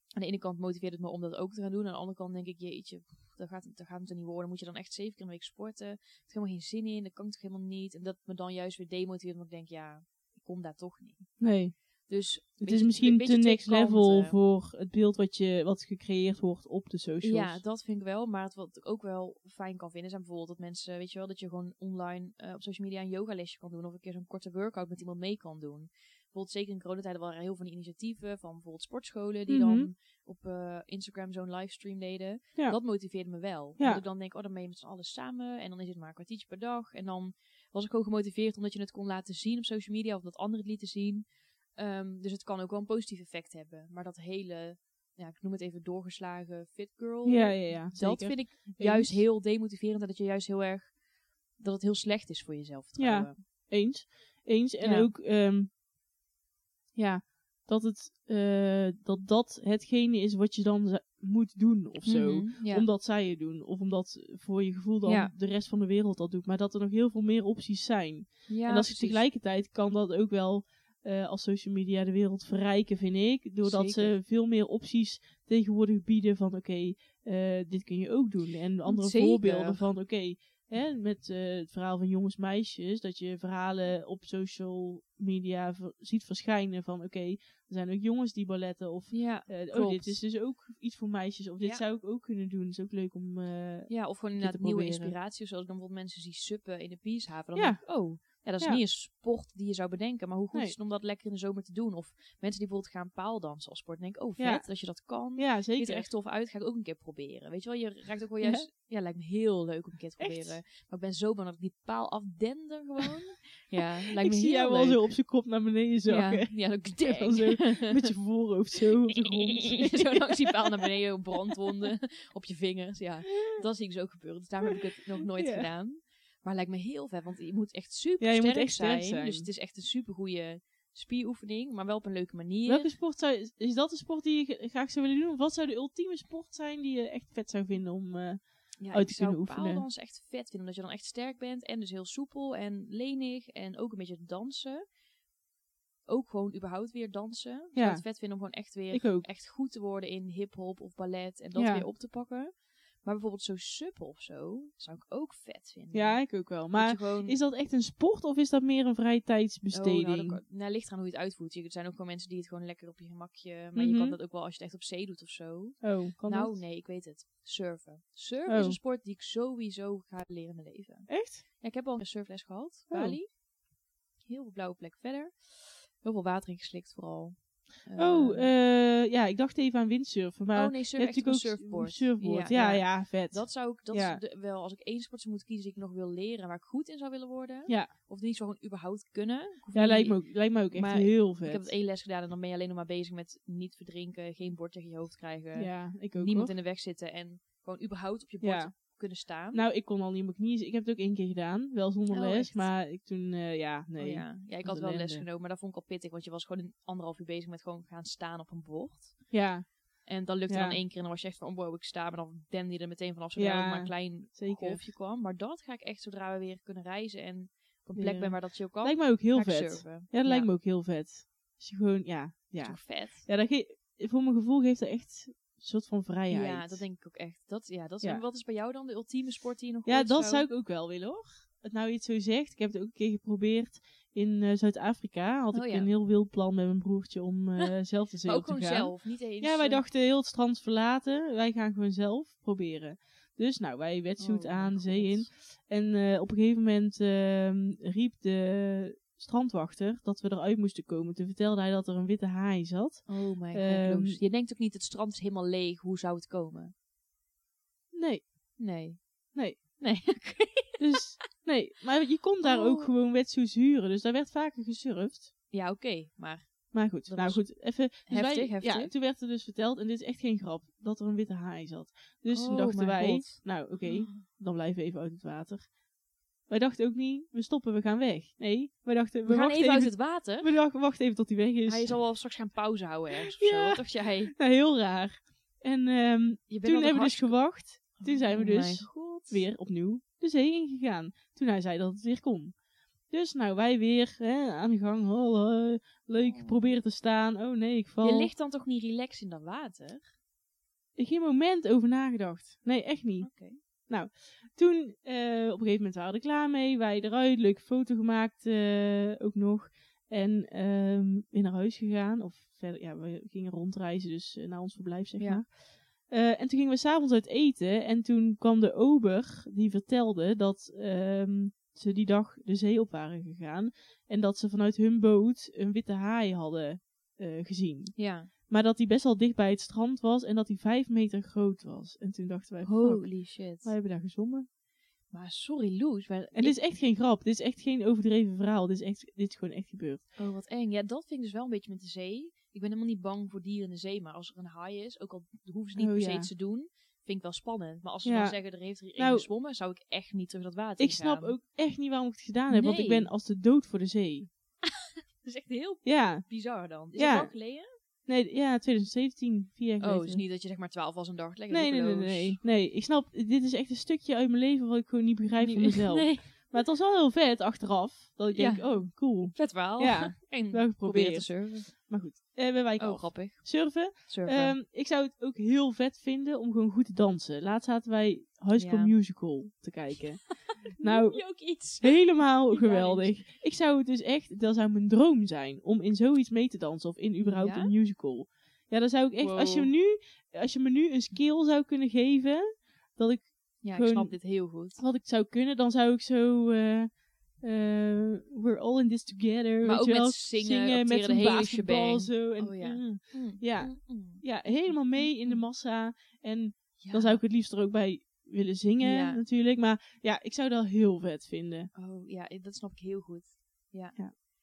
[SPEAKER 2] aan de ene kant motiveert het me om dat ook te gaan doen, aan de andere kant denk ik, jeetje, pff, dat gaat, dat gaat het er niet worden, moet je dan echt zeven keer in de week sporten? Ik heb er helemaal geen zin in, dat kan toch helemaal niet? En dat me dan juist weer demotiveert, omdat ik denk, ja, ik kom daar toch niet.
[SPEAKER 1] Nee.
[SPEAKER 2] Dus
[SPEAKER 1] Het
[SPEAKER 2] beetje-
[SPEAKER 1] is misschien
[SPEAKER 2] beetje eh.
[SPEAKER 1] te
[SPEAKER 2] twee
[SPEAKER 1] next level
[SPEAKER 2] kanten.
[SPEAKER 1] voor het beeld wat, je, wat gecreëerd wordt op de socials.
[SPEAKER 2] Ja, dat vind ik wel. Maar het, wat ik ook wel fijn kan vinden zijn bijvoorbeeld dat mensen, weet je wel, dat je gewoon online eh, op social media een yogalesje kan doen. Of een keer zo'n korte workout met iemand mee kan doen. Bijvoorbeeld zeker in coronatijden waren er heel veel initiatieven van bijvoorbeeld sportscholen die
[SPEAKER 1] Mhm.
[SPEAKER 2] dan op eh, Instagram zo'n livestream deden.
[SPEAKER 1] Ja.
[SPEAKER 2] Dat motiveerde me wel.
[SPEAKER 1] Ja.
[SPEAKER 2] Dat ik dan denk, oh dan ben je met z'n allen samen en dan is het maar een kwartiertje per dag. En dan was ik gewoon gemotiveerd omdat je het kon laten zien op social media of dat anderen het lieten zien. Ehm, dus het kan ook wel een positief effect hebben. Maar dat hele, ja, ik noem het even doorgeslagen fit girl.
[SPEAKER 1] ja, ja, ja.
[SPEAKER 2] dat
[SPEAKER 1] zeker.
[SPEAKER 2] vind ik
[SPEAKER 1] Eens.
[SPEAKER 2] juist heel demotiverend. En dat je juist heel erg, dat het heel slecht is voor jezelf trouwen.
[SPEAKER 1] Eens. Eens. En
[SPEAKER 2] Ja.
[SPEAKER 1] ook, ehm, ja, dat, het, eh, dat dat hetgene is wat je dan za- moet doen of zo.
[SPEAKER 2] Mhm, ja.
[SPEAKER 1] Omdat zij het doen. Of omdat voor je gevoel dan
[SPEAKER 2] Ja.
[SPEAKER 1] de rest van de wereld dat doet. Maar dat er nog heel veel meer opties zijn.
[SPEAKER 2] Ja,
[SPEAKER 1] en dat ze
[SPEAKER 2] precies.
[SPEAKER 1] tegelijkertijd kan dat ook wel eh, als social media de wereld verrijken, vind ik. Doordat ze
[SPEAKER 2] Zeker.
[SPEAKER 1] veel meer opties tegenwoordig bieden van oké, eh, dit kun je ook doen. En andere
[SPEAKER 2] Zeker.
[SPEAKER 1] voorbeelden van oké, Hè, met eh, het verhaal van jongens, meisjes. Dat je verhalen op social media ver- ziet verschijnen van oké, er zijn ook jongens die balletten. Of
[SPEAKER 2] Ja.
[SPEAKER 1] eh, oh,
[SPEAKER 2] Klopt.
[SPEAKER 1] dit is dus ook iets voor meisjes. Of dit
[SPEAKER 2] Ja.
[SPEAKER 1] zou ik ook kunnen doen. is ook leuk om... eh,
[SPEAKER 2] Ja, of gewoon
[SPEAKER 1] te
[SPEAKER 2] inderdaad nieuwe
[SPEAKER 1] proberen.
[SPEAKER 2] inspiratie. Zoals ik dan bijvoorbeeld mensen zie suppen in de Pieshaven. Dan
[SPEAKER 1] Ja.
[SPEAKER 2] denk ik, oh, ja, dat is
[SPEAKER 1] Ja.
[SPEAKER 2] niet een sport die je zou bedenken. Maar hoe goed
[SPEAKER 1] Nee.
[SPEAKER 2] is het om dat lekker in de zomer te doen? Of mensen die bijvoorbeeld gaan paaldansen als sport. Dan denk ik, oh vet
[SPEAKER 1] Ja.
[SPEAKER 2] dat je dat kan.
[SPEAKER 1] ja,
[SPEAKER 2] Ziet
[SPEAKER 1] zeker.
[SPEAKER 2] er echt tof uit, ga ik ook een keer proberen. Weet je wel, je raakt ook wel
[SPEAKER 1] Ja.
[SPEAKER 2] juist... Ja, lijkt me heel leuk om een keer te
[SPEAKER 1] Echt?
[SPEAKER 2] proberen. Maar ik ben zo bang dat ik die paal afdender gewoon. ja, lijkt me
[SPEAKER 1] ik
[SPEAKER 2] heel
[SPEAKER 1] zie jou
[SPEAKER 2] leuk.
[SPEAKER 1] wel zo op zijn kop naar beneden zakken.
[SPEAKER 2] Ja, ja, dat
[SPEAKER 1] Ja,
[SPEAKER 2] denk
[SPEAKER 1] dan zo Met je voorhoofd zo op de grond.
[SPEAKER 2] zo langs die paal naar beneden, brandwonden op je vingers. Ja, dat zie ik zo ook gebeuren. Dus daarom heb ik het nog nooit
[SPEAKER 1] Ja.
[SPEAKER 2] gedaan. Maar het lijkt me heel vet, want je moet echt super
[SPEAKER 1] Ja, je moet
[SPEAKER 2] sterk
[SPEAKER 1] echt sterk
[SPEAKER 2] zijn.
[SPEAKER 1] zijn.
[SPEAKER 2] Dus het is echt een super goede spieroefening, maar wel op een leuke manier.
[SPEAKER 1] Welke sport zou, is dat de sport die je ge- graag zou willen doen? Of wat zou de ultieme sport zijn die je echt vet zou vinden om... eh,
[SPEAKER 2] ja,
[SPEAKER 1] uit
[SPEAKER 2] ik
[SPEAKER 1] te kunnen
[SPEAKER 2] zou
[SPEAKER 1] oefenen.
[SPEAKER 2] paaldans echt vet vinden, omdat je dan echt sterk bent en dus heel soepel en lenig en ook een beetje dansen. Ook gewoon überhaupt weer dansen. Ik zou
[SPEAKER 1] Ja.
[SPEAKER 2] het vet vinden om gewoon echt weer
[SPEAKER 1] ik ook.
[SPEAKER 2] echt goed te worden in hip-hop of ballet en dat
[SPEAKER 1] Ja.
[SPEAKER 2] weer op te pakken. Maar bijvoorbeeld zo suppen of zo zou ik ook vet vinden.
[SPEAKER 1] Ja, ik ook wel.
[SPEAKER 2] Dat je
[SPEAKER 1] Maar
[SPEAKER 2] gewoon,
[SPEAKER 1] is dat echt een sport of is dat meer een vrije
[SPEAKER 2] Oh, nou, dat
[SPEAKER 1] tijdsbesteding?
[SPEAKER 2] kan- nou, ligt eraan hoe je het uitvoert. Je- Er zijn ook gewoon mensen die het gewoon lekker op je gemakje. Maar je kan
[SPEAKER 1] Mhm.
[SPEAKER 2] dat ook wel als je het echt op zee doet of zo.
[SPEAKER 1] oh, kan
[SPEAKER 2] nou,
[SPEAKER 1] dat?
[SPEAKER 2] nee, ik weet het. Surfen. Surfen is
[SPEAKER 1] Oh.
[SPEAKER 2] een sport die ik sowieso ga leren in mijn leven.
[SPEAKER 1] Echt?
[SPEAKER 2] Ja, ik heb al een surfles gehad,
[SPEAKER 1] Oh.
[SPEAKER 2] Bali. Heel veel blauwe plekken verder. Heel veel water ingeslikt vooral.
[SPEAKER 1] oh,
[SPEAKER 2] Eh,
[SPEAKER 1] eh, ja, ik dacht even aan windsurfen. Maar
[SPEAKER 2] oh nee,
[SPEAKER 1] je
[SPEAKER 2] surf,
[SPEAKER 1] hebt
[SPEAKER 2] echt op een
[SPEAKER 1] natuurlijk ook
[SPEAKER 2] surfboard.
[SPEAKER 1] surfboard. Ja, ja, vet.
[SPEAKER 2] Dat zou ik, dat
[SPEAKER 1] Ja.
[SPEAKER 2] is de- wel, als ik één sport zou moeten kiezen die ik nog wil leren, en waar ik goed in zou willen worden.
[SPEAKER 1] Ja.
[SPEAKER 2] Of die ik zou gewoon überhaupt kunnen. Ik hoef
[SPEAKER 1] ja,
[SPEAKER 2] niet-
[SPEAKER 1] lijkt me, ook, lijkt me ook echt
[SPEAKER 2] Maar
[SPEAKER 1] heel vet.
[SPEAKER 2] Ik heb het één les gedaan en dan ben je alleen nog maar bezig met niet verdrinken, geen bord tegen je hoofd krijgen,
[SPEAKER 1] Ja, ik ook
[SPEAKER 2] niemand
[SPEAKER 1] hoor.
[SPEAKER 2] in de weg zitten en gewoon überhaupt op je bord
[SPEAKER 1] Ja.
[SPEAKER 2] kunnen staan.
[SPEAKER 1] Nou, ik kon al niet op mijn knieën. Ik heb het ook één keer gedaan. Wel zonder
[SPEAKER 2] Oh,
[SPEAKER 1] les.
[SPEAKER 2] echt?
[SPEAKER 1] Maar ik toen, eh, ja,
[SPEAKER 2] Oh
[SPEAKER 1] nee. ja.
[SPEAKER 2] ja. ja, ik
[SPEAKER 1] Wat
[SPEAKER 2] had wel
[SPEAKER 1] ellende.
[SPEAKER 2] les genomen, maar dat vond ik al pittig, want je was gewoon een anderhalf uur bezig met gewoon gaan staan op een bord. En dat lukte
[SPEAKER 1] Ja.
[SPEAKER 2] dan één keer en dan was je echt van, oh, wow, ik sta, maar dan dende je er meteen vanaf zodra
[SPEAKER 1] Ja,
[SPEAKER 2] er maar een klein
[SPEAKER 1] zeker.
[SPEAKER 2] golfje kwam. Maar dat ga ik echt zodra we weer kunnen reizen en op een
[SPEAKER 1] Weer,
[SPEAKER 2] plek ben waar dat chill kan,
[SPEAKER 1] lijkt me ook heel
[SPEAKER 2] ga ik
[SPEAKER 1] vet.
[SPEAKER 2] surfen.
[SPEAKER 1] Ja, dat lijkt me ook heel vet. Als je gewoon, ja, ja.
[SPEAKER 2] Toch vet.
[SPEAKER 1] Ja, dat ge- voor mijn gevoel geeft dat echt een soort van vrijheid.
[SPEAKER 2] Ja, dat denk ik ook echt. Dat, ja, dat is,
[SPEAKER 1] Ja.
[SPEAKER 2] en Wat is bij jou dan de ultieme sport die je nog
[SPEAKER 1] Ja,
[SPEAKER 2] ooit
[SPEAKER 1] dat zou ik ook wel willen hoor. Het nou iets zo zegt. Ik heb het ook een keer geprobeerd in eh, Zuid-Afrika. Had
[SPEAKER 2] Oh,
[SPEAKER 1] ik
[SPEAKER 2] ja.
[SPEAKER 1] een heel wild plan met mijn broertje om eh, zelf de zee
[SPEAKER 2] Maar
[SPEAKER 1] op
[SPEAKER 2] ook
[SPEAKER 1] te gaan.
[SPEAKER 2] gewoon zelf, niet eens...
[SPEAKER 1] Ja, wij
[SPEAKER 2] eh,
[SPEAKER 1] dachten heel het strand verlaten. Wij gaan gewoon zelf proberen. Dus nou, wij wetsuit
[SPEAKER 2] oh,
[SPEAKER 1] aan,
[SPEAKER 2] mijn
[SPEAKER 1] zee
[SPEAKER 2] god.
[SPEAKER 1] in. En eh, op een gegeven moment ehm, riep de strandwachter dat we eruit moesten komen. Toen vertelde hij dat er een witte haai zat.
[SPEAKER 2] Oh my god,
[SPEAKER 1] Ehm,
[SPEAKER 2] Loes. Je denkt ook niet, het strand is helemaal leeg, hoe zou het komen?
[SPEAKER 1] Nee,
[SPEAKER 2] Nee.
[SPEAKER 1] Nee.
[SPEAKER 2] Nee, oké.
[SPEAKER 1] dus nee. Maar je kon daar ook
[SPEAKER 2] Oh.
[SPEAKER 1] gewoon wetsuits huren. Dus daar werd vaker gesurfd.
[SPEAKER 2] Ja, oké, maar...
[SPEAKER 1] Maar goed,
[SPEAKER 2] Dat
[SPEAKER 1] nou
[SPEAKER 2] was
[SPEAKER 1] goed, even. dus
[SPEAKER 2] heftig,
[SPEAKER 1] wij- Ja,
[SPEAKER 2] heftig.
[SPEAKER 1] toen werd er dus verteld, en dit is echt geen grap, dat er een witte haai zat. Dus toen
[SPEAKER 2] Oh
[SPEAKER 1] dachten
[SPEAKER 2] mijn
[SPEAKER 1] wij,
[SPEAKER 2] god.
[SPEAKER 1] nou oké, dan blijven we even uit het water. Wij dachten ook niet, we stoppen, we gaan weg. Nee, wij dachten, we,
[SPEAKER 2] We gaan
[SPEAKER 1] wachten
[SPEAKER 2] even, uit het water.
[SPEAKER 1] we dachten, wachten even tot hij weg is.
[SPEAKER 2] Hij zal wel straks gaan pauze houden ergens of zo.
[SPEAKER 1] Ja.
[SPEAKER 2] Wat dacht jij?
[SPEAKER 1] Nou, heel raar. En ehm,
[SPEAKER 2] Je bent
[SPEAKER 1] toen
[SPEAKER 2] altijd
[SPEAKER 1] hebben we dus
[SPEAKER 2] hartstikke-
[SPEAKER 1] gewacht, toen zijn we
[SPEAKER 2] Oh mijn
[SPEAKER 1] dus
[SPEAKER 2] god.
[SPEAKER 1] weer opnieuw de zee ingegaan. Toen hij zei dat het weer kon. Dus nou, wij weer hè, aan de gang. Oh, eh, leuk,
[SPEAKER 2] Oh.
[SPEAKER 1] proberen te staan. Oh nee, ik val.
[SPEAKER 2] Je ligt dan toch niet relaxed in dat water?
[SPEAKER 1] geen moment over nagedacht. Nee, echt niet.
[SPEAKER 2] Oké.
[SPEAKER 1] Toen, eh, op een gegeven moment waren we er klaar mee. Wij eruit, leuke foto gemaakt eh, ook nog. En ehm weer naar huis gegaan. Of verder, ja, we gingen rondreizen, dus eh, naar ons verblijf, zeg
[SPEAKER 2] Ja.
[SPEAKER 1] maar. Eh, en toen gingen we s'avonds uit eten. En toen kwam de ober, die vertelde dat ehm, ze die dag de zee op waren gegaan. En dat ze vanuit hun boot een witte haai hadden eh, gezien.
[SPEAKER 2] Ja.
[SPEAKER 1] Maar dat die best wel dicht bij het strand was en dat die vijf meter groot was. En toen dachten wij, fuck,
[SPEAKER 2] Holy shit.
[SPEAKER 1] wij hebben daar gezongen.
[SPEAKER 2] Maar sorry Loes, maar
[SPEAKER 1] En dit is echt geen grap, dit is echt geen overdreven verhaal, dit is, echt, dit is gewoon echt gebeurd.
[SPEAKER 2] Oh, wat eng. Ja, dat vind ik dus wel een beetje met de zee. Ik ben helemaal niet bang voor dieren in de zee, maar als er een haai is, ook al hoeven ze niet
[SPEAKER 1] Oh,
[SPEAKER 2] per se
[SPEAKER 1] ja.
[SPEAKER 2] iets te doen, vind ik wel spannend. Maar als ze
[SPEAKER 1] Ja.
[SPEAKER 2] dan zeggen, er heeft er één
[SPEAKER 1] Nou,
[SPEAKER 2] gezwommen, zou ik echt niet terug dat water
[SPEAKER 1] Ik
[SPEAKER 2] in
[SPEAKER 1] snap
[SPEAKER 2] gaan.
[SPEAKER 1] ook echt niet waarom ik het gedaan heb, want ik
[SPEAKER 2] Nee.
[SPEAKER 1] ben als de dood voor de zee.
[SPEAKER 2] Dat is echt heel
[SPEAKER 1] Ja,
[SPEAKER 2] bizar dan. Is
[SPEAKER 1] Ja.
[SPEAKER 2] dat lang geleden?
[SPEAKER 1] nee, ja 2017, vier jaar
[SPEAKER 2] Oh,
[SPEAKER 1] geleden.
[SPEAKER 2] dus niet dat je zeg maar 12 was en dacht, lekker
[SPEAKER 1] Nee, nee, nee,
[SPEAKER 2] roekeloos.
[SPEAKER 1] nee, nee. Ik snap, dit is echt een stukje uit mijn leven wat ik gewoon niet begrijp van
[SPEAKER 2] Nu-
[SPEAKER 1] mezelf.
[SPEAKER 2] Nee,
[SPEAKER 1] Maar het was wel heel vet achteraf, dat ik
[SPEAKER 2] Ja.
[SPEAKER 1] denk, oh, cool.
[SPEAKER 2] vet verhaal.
[SPEAKER 1] Ja,
[SPEAKER 2] en
[SPEAKER 1] wel
[SPEAKER 2] proberen te
[SPEAKER 1] geprobeerd.
[SPEAKER 2] surfen.
[SPEAKER 1] Maar goed, eh, we wijken
[SPEAKER 2] Oh,
[SPEAKER 1] af.
[SPEAKER 2] grappig.
[SPEAKER 1] Surfen.
[SPEAKER 2] Surfen.
[SPEAKER 1] Ehm, ik zou het ook heel vet vinden om gewoon goed te dansen. Laatst zaten wij High School
[SPEAKER 2] Ja.
[SPEAKER 1] Musical te kijken. Nou,
[SPEAKER 2] Doe je ook iets?
[SPEAKER 1] Helemaal
[SPEAKER 2] Ja,
[SPEAKER 1] geweldig. Ik zou het dus echt, dat zou mijn droom zijn om in zoiets mee te dansen of in überhaupt
[SPEAKER 2] Ja?
[SPEAKER 1] een musical. Ja, dan zou ik echt, als, je
[SPEAKER 2] Wow.
[SPEAKER 1] nu, als je me nu een skill zou kunnen geven, dat ik
[SPEAKER 2] Ja, ik
[SPEAKER 1] Gewoon-
[SPEAKER 2] snap dit heel goed.
[SPEAKER 1] wat ik zou kunnen, dan zou ik zo. eh, eh, we're all in this together.
[SPEAKER 2] Maar
[SPEAKER 1] weet
[SPEAKER 2] ook
[SPEAKER 1] je
[SPEAKER 2] met
[SPEAKER 1] wel?
[SPEAKER 2] zingen,
[SPEAKER 1] zingen met
[SPEAKER 2] acteren, de
[SPEAKER 1] een
[SPEAKER 2] hele
[SPEAKER 1] basketbal
[SPEAKER 2] shebang.
[SPEAKER 1] zo. En,
[SPEAKER 2] Oh ja.
[SPEAKER 1] mm,
[SPEAKER 2] Mm,
[SPEAKER 1] ja.
[SPEAKER 2] mm, mm.
[SPEAKER 1] ja, helemaal mee in de massa. En
[SPEAKER 2] Ja.
[SPEAKER 1] dan zou ik het liefst er ook bij willen zingen,
[SPEAKER 2] Ja.
[SPEAKER 1] natuurlijk. Maar ja, ik zou dat heel vet vinden.
[SPEAKER 2] Oh ja, dat snap ik heel goed.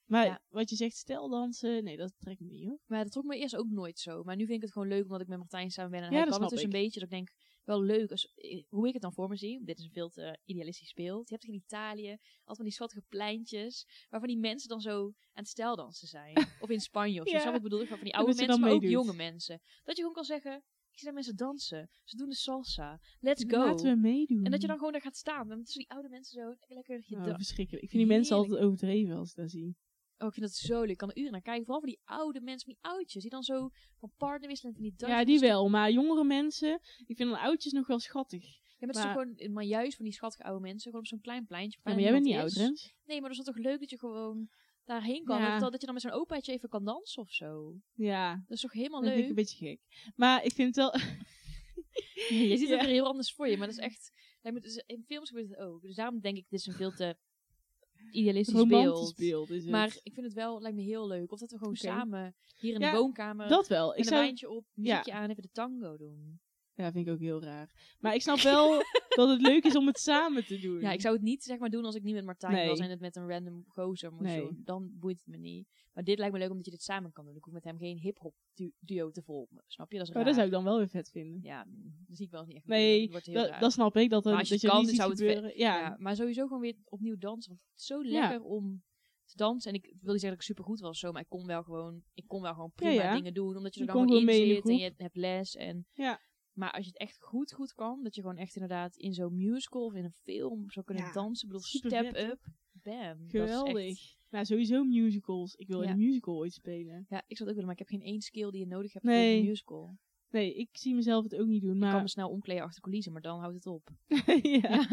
[SPEAKER 1] Maar
[SPEAKER 2] Ja.
[SPEAKER 1] wat je zegt, steldansen, nee, dat trekt me niet hoor.
[SPEAKER 2] Maar dat trok me eerst ook nooit zo. Maar nu vind ik het gewoon leuk omdat ik met Martijn samen ben. En
[SPEAKER 1] Ja,
[SPEAKER 2] hij
[SPEAKER 1] dat
[SPEAKER 2] kan het
[SPEAKER 1] snap
[SPEAKER 2] dus een beetje. Dat ik denk, wel leuk. Als, eh, hoe ik het dan voor me zie. Dit is een veel te idealistisch beeld. Je hebt het in Italië altijd van die schattige pleintjes. Waarvan die mensen dan zo aan het stijldansen zijn. of in Spanje of zo.
[SPEAKER 1] Ja.
[SPEAKER 2] Snap wat ik bedoel? Van die
[SPEAKER 1] Dat
[SPEAKER 2] oude
[SPEAKER 1] ze dan
[SPEAKER 2] mensen, maar ook
[SPEAKER 1] meedoet.
[SPEAKER 2] jonge mensen. Dat je gewoon kan zeggen, ik zie daar mensen dansen. Ze doen de salsa. Let's go.
[SPEAKER 1] Laten we meedoen.
[SPEAKER 2] En dat je dan gewoon daar gaat staan. Dan tussen die oude mensen zo lekker- lekker je
[SPEAKER 1] Oh,
[SPEAKER 2] dan-
[SPEAKER 1] verschrikkelijk. Ik vind die mensen
[SPEAKER 2] Heerlijk.
[SPEAKER 1] altijd overdreven als ik dat zie.
[SPEAKER 2] Oh, ik vind dat zo leuk. Ik kan er uren naar kijken. Vooral voor die oude mensen, van die oudjes. Die dan zo van partner wisselen en van die dansjes.
[SPEAKER 1] ja, die wel. Maar jongere mensen, ik vind dan oudjes nog wel schattig.
[SPEAKER 2] Ja, maar, het is
[SPEAKER 1] Maar-
[SPEAKER 2] toch gewoon, eh, maar juist van die schattige oude mensen, gewoon op zo'n klein pleintje.
[SPEAKER 1] Ja,
[SPEAKER 2] waar
[SPEAKER 1] maar jij bent niet
[SPEAKER 2] bijna
[SPEAKER 1] oud,
[SPEAKER 2] niemand
[SPEAKER 1] Rens.
[SPEAKER 2] is. Nee, maar dat is dan toch leuk dat je gewoon daarheen kan.
[SPEAKER 1] Ja.
[SPEAKER 2] Dat, dat je dan met zo'n opaatje even kan dansen of zo.
[SPEAKER 1] Ja,
[SPEAKER 2] Dat is toch helemaal
[SPEAKER 1] dat vind ik
[SPEAKER 2] leuk?
[SPEAKER 1] een beetje gek. Maar ik vind het wel...
[SPEAKER 2] je ziet het
[SPEAKER 1] Ja.
[SPEAKER 2] er heel anders voor je, maar dat is echt... lijkt me- dus In films gebeurt het ook. Dus daarom denk ik, dit is een veel te idealistisch
[SPEAKER 1] romantisch
[SPEAKER 2] beeld.
[SPEAKER 1] beeld is het.
[SPEAKER 2] Maar ik vind het wel, lijkt me heel leuk. Of dat we gewoon
[SPEAKER 1] Oké.
[SPEAKER 2] samen hier in
[SPEAKER 1] Ja,
[SPEAKER 2] de woonkamer
[SPEAKER 1] dat wel. Ik
[SPEAKER 2] met een
[SPEAKER 1] zou...
[SPEAKER 2] wijntje op, muziekje aan, even de tango doen.
[SPEAKER 1] Ja, vind ik ook heel raar. Maar ik snap wel dat het leuk is om het samen te doen.
[SPEAKER 2] Ja, ik zou het niet zeg maar doen als ik niet met Martijn
[SPEAKER 1] Nee.
[SPEAKER 2] was en het met een random gozer moest
[SPEAKER 1] Nee.
[SPEAKER 2] doen. Dan boeit het me niet. Maar dit lijkt me leuk omdat je dit samen kan doen. Ik hoef met hem geen hip-hop du- duo te volgen. Snap je? Dat is
[SPEAKER 1] Maar
[SPEAKER 2] raar.
[SPEAKER 1] Oh, dat zou ik dan wel weer vet vinden.
[SPEAKER 2] Ja, mm, dat zie ik wel niet echt.
[SPEAKER 1] Nee,
[SPEAKER 2] gebeuren. Dat wordt heel
[SPEAKER 1] Dat,
[SPEAKER 2] raar.
[SPEAKER 1] dat snap ik. Dat,
[SPEAKER 2] Maar
[SPEAKER 1] dat,
[SPEAKER 2] als je
[SPEAKER 1] dat
[SPEAKER 2] het kan,
[SPEAKER 1] niet ziet
[SPEAKER 2] zou het vet-
[SPEAKER 1] gebeuren. Ja.
[SPEAKER 2] ja. maar sowieso gewoon weer opnieuw dansen. Want het is zo lekker om te dansen. En ik wil niet zeggen dat ik super goed was of zo, maar ik kon wel gewoon, ik kon wel gewoon prima
[SPEAKER 1] ja.
[SPEAKER 2] dingen doen. Omdat je er
[SPEAKER 1] Je
[SPEAKER 2] dan
[SPEAKER 1] kon
[SPEAKER 2] gewoon in
[SPEAKER 1] gewoon mee in de
[SPEAKER 2] zit en je hebt les. En,
[SPEAKER 1] Ja.
[SPEAKER 2] Maar als je het echt goed, goed kan, dat je gewoon echt inderdaad in zo'n musical of in een film zou kunnen
[SPEAKER 1] Ja,
[SPEAKER 2] dansen. Ik bedoel,
[SPEAKER 1] super
[SPEAKER 2] step
[SPEAKER 1] vet, hè?
[SPEAKER 2] up. Bam. Dat is
[SPEAKER 1] Geweldig.
[SPEAKER 2] echt-
[SPEAKER 1] Nou, sowieso musicals. Ik wil
[SPEAKER 2] Ja.
[SPEAKER 1] een musical ooit spelen.
[SPEAKER 2] ja, ik zou het ook willen, maar ik heb geen één skill die je nodig hebt
[SPEAKER 1] Nee.
[SPEAKER 2] voor een musical.
[SPEAKER 1] Nee, ik zie mezelf het ook niet doen,
[SPEAKER 2] Ik kan
[SPEAKER 1] maar...
[SPEAKER 2] me snel omkleden achter coulissen, maar dan houdt het op.
[SPEAKER 1] ja.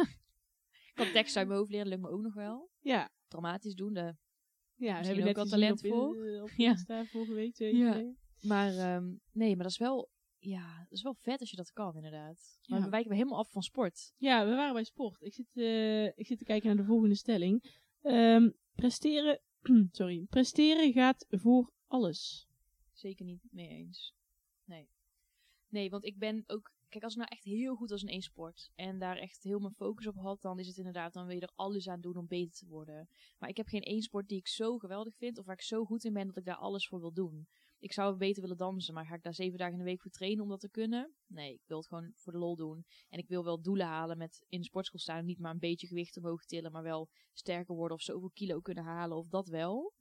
[SPEAKER 2] Ik kan tekst uit mijn hoofd leren, lukt me ook nog wel.
[SPEAKER 1] ja.
[SPEAKER 2] Dramatisch doen, de
[SPEAKER 1] Ja, we
[SPEAKER 2] Misschien
[SPEAKER 1] hebben
[SPEAKER 2] ook
[SPEAKER 1] net
[SPEAKER 2] wel
[SPEAKER 1] gezien
[SPEAKER 2] talent
[SPEAKER 1] op in-
[SPEAKER 2] voor.
[SPEAKER 1] eh, op
[SPEAKER 2] Ja.
[SPEAKER 1] Insta vorige week, twee weken
[SPEAKER 2] Ja.
[SPEAKER 1] geleden.
[SPEAKER 2] Maar ehm, nee, maar dat is wel, ja, dat is wel vet als je dat kan, inderdaad. Maar
[SPEAKER 1] Ja.
[SPEAKER 2] we wijken weer helemaal af van sport.
[SPEAKER 1] Ja, we waren bij sport. Ik zit, eh, ik zit te kijken naar de volgende stelling. Ehm, presteren, sorry, presteren gaat voor alles.
[SPEAKER 2] Zeker niet mee eens. Nee. Nee, want ik ben ook, kijk, als ik nou echt heel goed was in één sport en daar echt heel mijn focus op had, dan is het inderdaad, dan wil je er alles aan doen om beter te worden. Maar ik heb geen één sport die ik zo geweldig vind of waar ik zo goed in ben dat ik daar alles voor wil doen. Ik zou beter willen dansen, maar ga ik daar zeven dagen in de week voor trainen om dat te kunnen? Nee, ik wil het gewoon voor de lol doen. En ik wil wel doelen halen met in de sportschool staan. Niet maar een beetje gewicht omhoog tillen, maar wel sterker worden of zoveel kilo kunnen halen of dat wel.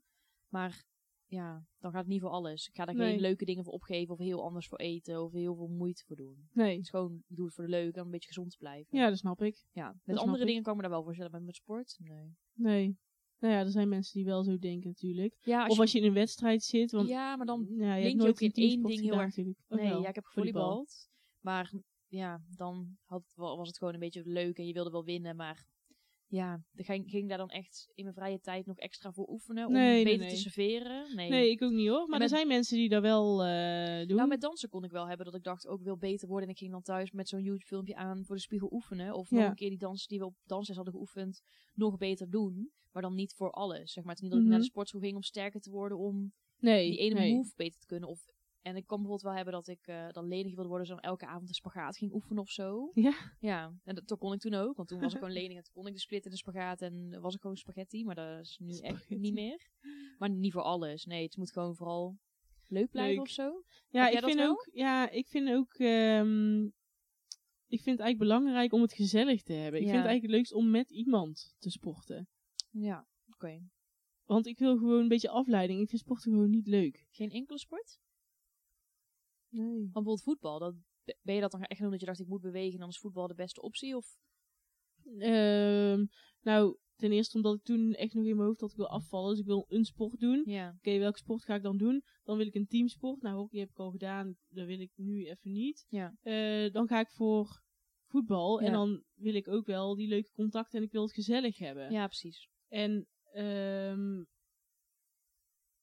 [SPEAKER 2] Maar ja, dan gaat het niet voor alles. Ik ga daar
[SPEAKER 1] Nee.
[SPEAKER 2] geen leuke dingen voor opgeven of heel anders voor eten of heel veel moeite voor doen.
[SPEAKER 1] Nee.
[SPEAKER 2] Het is gewoon, ik doe het voor de leuk en om een beetje gezond te blijven.
[SPEAKER 1] Ja, dat snap ik.
[SPEAKER 2] Ja,
[SPEAKER 1] snap
[SPEAKER 2] met andere
[SPEAKER 1] ik.
[SPEAKER 2] dingen kan ik me daar wel voor stellen, maar met sport? Nee.
[SPEAKER 1] Nee. Nou ja, er zijn mensen die wel zo denken natuurlijk.
[SPEAKER 2] Ja, als
[SPEAKER 1] of
[SPEAKER 2] je,
[SPEAKER 1] als je in een wedstrijd zit, want
[SPEAKER 2] ja maar dan...
[SPEAKER 1] ja, je hebt
[SPEAKER 2] link je
[SPEAKER 1] nooit
[SPEAKER 2] ook in
[SPEAKER 1] een
[SPEAKER 2] één
[SPEAKER 1] teamsport
[SPEAKER 2] ding heel
[SPEAKER 1] gedaan
[SPEAKER 2] erg-
[SPEAKER 1] natuurlijk. Of
[SPEAKER 2] Nee,
[SPEAKER 1] wel?
[SPEAKER 2] ja, ik heb
[SPEAKER 1] Volleybal.
[SPEAKER 2] gevolleybald. Maar ja, dan had het wel- was het gewoon een beetje leuk en je wilde wel winnen. Maar ja, dan ging, ging daar dan echt in mijn vrije tijd nog extra voor oefenen. Om
[SPEAKER 1] Nee, nee,
[SPEAKER 2] beter
[SPEAKER 1] nee.
[SPEAKER 2] te serveren. Nee.
[SPEAKER 1] Nee, ik ook niet hoor. Maar
[SPEAKER 2] met-
[SPEAKER 1] er zijn mensen die dat wel eh, doen.
[SPEAKER 2] Nou, met dansen kon ik wel hebben dat ik dacht, ook ik wil beter worden. En ik ging dan thuis met zo'n YouTube-filmpje aan voor de spiegel oefenen. Of nog
[SPEAKER 1] Ja.
[SPEAKER 2] een keer die dansen die we op dansles hadden geoefend, nog beter doen. Maar dan niet voor alles. Zeg maar, het is niet dat ik
[SPEAKER 1] Mhm.
[SPEAKER 2] naar de sportschool ging om sterker te worden, om
[SPEAKER 1] nee,
[SPEAKER 2] die ene
[SPEAKER 1] nee.
[SPEAKER 2] move beter te kunnen. Of, en ik kan bijvoorbeeld wel hebben dat ik eh, dan lenig wilde worden, zo'n elke avond een spagaat ging oefenen of zo.
[SPEAKER 1] Ja.
[SPEAKER 2] Ja, en dat, dat kon ik toen ook, want toen was ik gewoon lenig en toen kon ik de split en de spagaat en was ik gewoon spaghetti, maar dat is nu
[SPEAKER 1] Spaghetti.
[SPEAKER 2] echt niet meer. Maar niet voor alles, nee, het moet gewoon vooral leuk blijven
[SPEAKER 1] Leuk.
[SPEAKER 2] of zo.
[SPEAKER 1] Ja, ik
[SPEAKER 2] Heb jij dat
[SPEAKER 1] vind
[SPEAKER 2] wel?
[SPEAKER 1] ook. Ja, ik vind ook. ehm, ik vind het eigenlijk belangrijk om het gezellig te hebben. Ik
[SPEAKER 2] Ja.
[SPEAKER 1] vind het eigenlijk het leukst om met iemand te sporten.
[SPEAKER 2] Ja, oké.
[SPEAKER 1] Want ik wil gewoon een beetje afleiding. Ik vind sporten gewoon niet leuk.
[SPEAKER 2] Geen enkele sport?
[SPEAKER 1] Nee.
[SPEAKER 2] Want bijvoorbeeld voetbal, dat, ben je dat dan echt doen dat je dacht ik moet bewegen en dan is voetbal de beste optie? Of
[SPEAKER 1] nou, ten eerste omdat ik toen echt nog in mijn hoofd had ik wil afvallen. Dus ik wil een sport doen.
[SPEAKER 2] ja,
[SPEAKER 1] Oké, welke sport ga ik dan doen? Dan wil ik een teamsport. Nou, hockey heb ik al gedaan. Dat wil ik nu even niet.
[SPEAKER 2] Ja.
[SPEAKER 1] Eh, dan ga ik voor voetbal. En
[SPEAKER 2] Ja.
[SPEAKER 1] dan wil ik ook wel die leuke contacten en ik wil het gezellig hebben.
[SPEAKER 2] Ja, precies.
[SPEAKER 1] En ehm,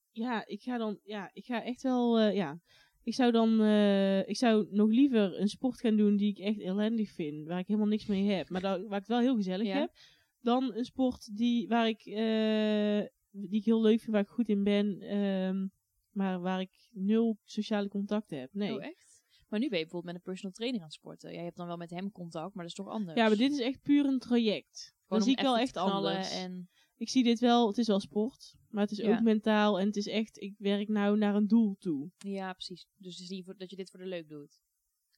[SPEAKER 1] ja, ik ga dan, ja, ik ga echt wel, eh, ja, ik zou dan, eh, ik zou nog liever een sport gaan doen die ik echt ellendig vind, waar ik helemaal niks mee heb, maar da- waar ik het wel heel gezellig
[SPEAKER 2] Ja.
[SPEAKER 1] heb, dan een sport die, waar ik, eh, die ik heel leuk vind, waar ik goed in ben, ehm, maar waar ik nul sociale contacten heb. Nee.
[SPEAKER 2] Oh, echt? Maar nu ben je bijvoorbeeld met een personal trainer aan het sporten. Jij hebt dan wel met hem contact, maar dat is toch anders?
[SPEAKER 1] ja, maar dit is echt puur een traject.
[SPEAKER 2] Gewoon
[SPEAKER 1] Dan
[SPEAKER 2] om
[SPEAKER 1] zie ik wel
[SPEAKER 2] te
[SPEAKER 1] echt
[SPEAKER 2] knallen
[SPEAKER 1] anders.
[SPEAKER 2] En,
[SPEAKER 1] ik zie dit wel, het is wel sport, maar het is
[SPEAKER 2] Ja.
[SPEAKER 1] ook mentaal en het is echt, ik werk nou naar een doel toe.
[SPEAKER 2] ja, precies. Dus het is niet voor- dat je dit voor de leuk doet.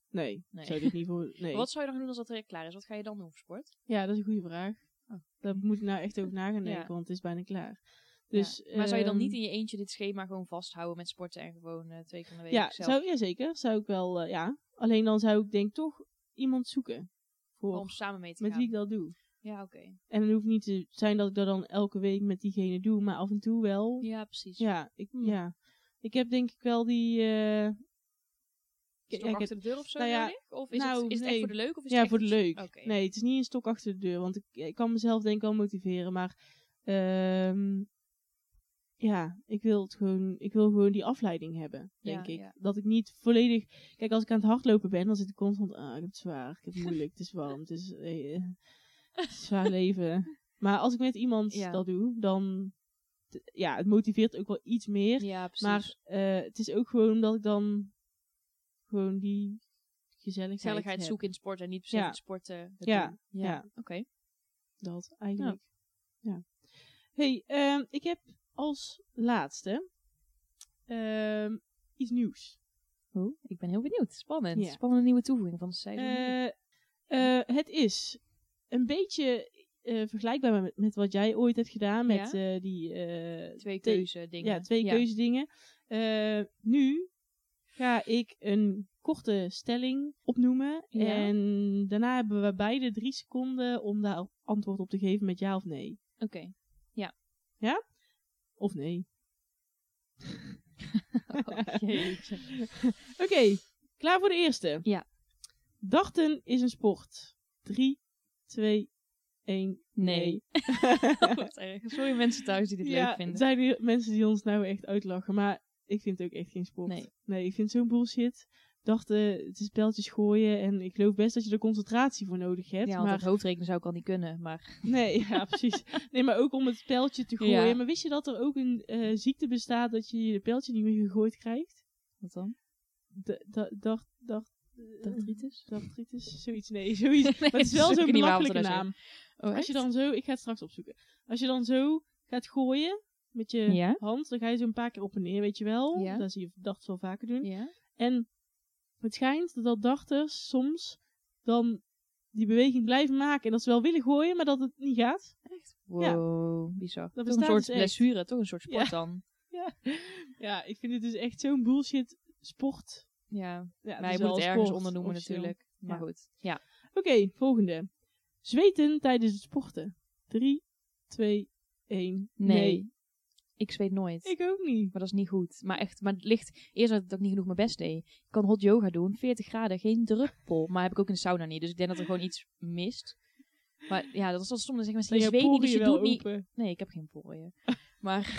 [SPEAKER 1] Nee,
[SPEAKER 2] Nee.
[SPEAKER 1] zou dit niet voor, nee.
[SPEAKER 2] Wat zou je dan doen als dat traject klaar is? Wat ga je dan doen voor sport?
[SPEAKER 1] Ja, dat is een goede vraag.
[SPEAKER 2] Oh.
[SPEAKER 1] Daar moet ik nou echt over na gaan denken,
[SPEAKER 2] Ja.
[SPEAKER 1] want het is bijna klaar.
[SPEAKER 2] Ja.
[SPEAKER 1] Dus,
[SPEAKER 2] Maar zou je dan
[SPEAKER 1] ehm,
[SPEAKER 2] niet in je eentje dit schema gewoon vasthouden met sporten en gewoon eh, twee keer in de week
[SPEAKER 1] ja,
[SPEAKER 2] zelf
[SPEAKER 1] zou, ja, zeker. Zou ik wel, eh, ja. Alleen dan zou ik denk ik toch iemand zoeken. Voor,
[SPEAKER 2] om samen mee te
[SPEAKER 1] met
[SPEAKER 2] gaan?
[SPEAKER 1] wie ik dat doe.
[SPEAKER 2] Ja, oké.
[SPEAKER 1] En het hoeft niet te zijn dat ik dat dan elke week met diegene doe, maar af en toe wel.
[SPEAKER 2] Ja, precies.
[SPEAKER 1] Ja, ik,
[SPEAKER 2] Hmm.
[SPEAKER 1] ja. ik heb denk ik wel die... eh,
[SPEAKER 2] Is
[SPEAKER 1] ja,
[SPEAKER 2] het
[SPEAKER 1] ik
[SPEAKER 2] ook achter
[SPEAKER 1] heb-
[SPEAKER 2] de deur of zo
[SPEAKER 1] nou ja,
[SPEAKER 2] nodig? Of is,
[SPEAKER 1] nou,
[SPEAKER 2] het, is het
[SPEAKER 1] nee.
[SPEAKER 2] echt voor de leuk? Of is
[SPEAKER 1] ja,
[SPEAKER 2] het Dus echt
[SPEAKER 1] voor de
[SPEAKER 2] iets-
[SPEAKER 1] leuk.
[SPEAKER 2] Oké.
[SPEAKER 1] Nee, het is niet een stok achter de deur, want ik, ik kan mezelf denk ik wel motiveren, maar ehm, ja, ik wil, het gewoon, ik wil gewoon die afleiding hebben, denk
[SPEAKER 2] Ja,
[SPEAKER 1] ik.
[SPEAKER 2] ja.
[SPEAKER 1] Dat ik niet volledig... Kijk, als ik aan het hardlopen ben, dan zit ik constant, ah, ik heb het zwaar, ik heb het moeilijk, het is warm, het is eh, eh, het is een zwaar leven. Maar als ik met iemand
[SPEAKER 2] Ja.
[SPEAKER 1] dat doe, dan... t- Ja, het motiveert ook wel iets meer,
[SPEAKER 2] Ja, precies.
[SPEAKER 1] maar eh, het is ook gewoon dat ik dan gewoon die gezelligheid,
[SPEAKER 2] Gezelligheid
[SPEAKER 1] heb.
[SPEAKER 2] zoeken in sport en niet per se
[SPEAKER 1] Ja.
[SPEAKER 2] het sporten. het
[SPEAKER 1] Ja,
[SPEAKER 2] doen.
[SPEAKER 1] ja.
[SPEAKER 2] Oké.
[SPEAKER 1] Dat eigenlijk. Ja. Hey, ehm, ik heb als laatste ehm, iets nieuws.
[SPEAKER 2] Oh, ik ben heel benieuwd. Spannend.
[SPEAKER 1] Ja.
[SPEAKER 2] Spannende nieuwe toevoeging van de seizoen.
[SPEAKER 1] Eh, eh, het is een beetje eh, vergelijkbaar met, met wat jij ooit hebt gedaan met eh, die eh, twee-
[SPEAKER 2] twee keuze dingen.
[SPEAKER 1] ja, twee keuzedingen. Eh, nu ga ik een korte stelling opnoemen
[SPEAKER 2] Ja.
[SPEAKER 1] en daarna hebben we beide drie seconden om daar antwoord op te geven met ja of nee.
[SPEAKER 2] Oké.
[SPEAKER 1] Of nee.
[SPEAKER 2] Oh, jeetje.
[SPEAKER 1] Oké, klaar voor de eerste.
[SPEAKER 2] Ja.
[SPEAKER 1] Darten is een sport. 3, 2, 1.
[SPEAKER 2] Nee. Oh, wat erg. Sorry mensen thuis die dit leuk
[SPEAKER 1] het
[SPEAKER 2] vinden.
[SPEAKER 1] zijn hier mensen die ons nou echt uitlachen, maar ik vind het ook echt geen sport.
[SPEAKER 2] Nee.
[SPEAKER 1] ik vind het zo'n bullshit. Darten, het is pijltjes gooien en ik geloof best dat je er concentratie voor nodig hebt.
[SPEAKER 2] ja, want
[SPEAKER 1] maar
[SPEAKER 2] dat hoofdrekenen zou ik al niet kunnen. Maar
[SPEAKER 1] Nee, ja, precies. Nee, maar ook om het pijltje te gooien.
[SPEAKER 2] Ja.
[SPEAKER 1] Maar wist je dat er ook een eh, ziekte bestaat dat je je pijltje niet meer gegooid krijgt?
[SPEAKER 2] wat dan?
[SPEAKER 1] D- da- dart, dart,
[SPEAKER 2] Dartritis?
[SPEAKER 1] Dartritis? Zoiets, nee, zoiets.
[SPEAKER 2] Nee,
[SPEAKER 1] Maar het is
[SPEAKER 2] dat
[SPEAKER 1] wel
[SPEAKER 2] weet
[SPEAKER 1] zo'n
[SPEAKER 2] ik niet waarom ze
[SPEAKER 1] belachelijke naam.
[SPEAKER 2] dat Oh,
[SPEAKER 1] Als je
[SPEAKER 2] echt?
[SPEAKER 1] dan zo, ik ga het straks opzoeken. Als je dan zo gaat gooien met je
[SPEAKER 2] Ja.
[SPEAKER 1] hand, dan ga je zo een paar keer op en neer, weet je wel.
[SPEAKER 2] Ja.
[SPEAKER 1] Dat zie je darters wel vaker doen.
[SPEAKER 2] Ja?
[SPEAKER 1] En het schijnt dat darters soms dan die beweging blijven maken. En dat ze wel willen gooien, maar dat het niet gaat.
[SPEAKER 2] Echt? Wow, bizar. toch een
[SPEAKER 1] bestaat
[SPEAKER 2] soort
[SPEAKER 1] dus echt.
[SPEAKER 2] blessure, toch een soort sport
[SPEAKER 1] Ja.
[SPEAKER 2] dan.
[SPEAKER 1] Ja, ik vind het dus echt zo'n bullshit sport.
[SPEAKER 2] Ja,
[SPEAKER 1] Ja, dus
[SPEAKER 2] maar
[SPEAKER 1] is
[SPEAKER 2] je moet
[SPEAKER 1] wel
[SPEAKER 2] het ergens
[SPEAKER 1] sport,
[SPEAKER 2] onder noemen
[SPEAKER 1] officieel.
[SPEAKER 2] natuurlijk. Maar
[SPEAKER 1] Ja.
[SPEAKER 2] goed. Ja.
[SPEAKER 1] Oké, volgende. Zweten tijdens het sporten. 3, 2, 1.
[SPEAKER 2] Nee. Ik zweet nooit.
[SPEAKER 1] Ik ook niet.
[SPEAKER 2] Maar dat is niet goed. Maar echt, maar het ligt... Eerst had ik ook niet genoeg mijn best deed. Ik kan hot yoga doen, 40 graden, geen druppel. Maar heb ik ook in de sauna niet. Dus ik denk dat er gewoon iets mist. Maar ja, dat is soms zeggen mensen, je,
[SPEAKER 1] Dan
[SPEAKER 2] zweet niet, dus je
[SPEAKER 1] poriën wel
[SPEAKER 2] doet niet.
[SPEAKER 1] open.
[SPEAKER 2] Nee, ik heb geen poriën. maar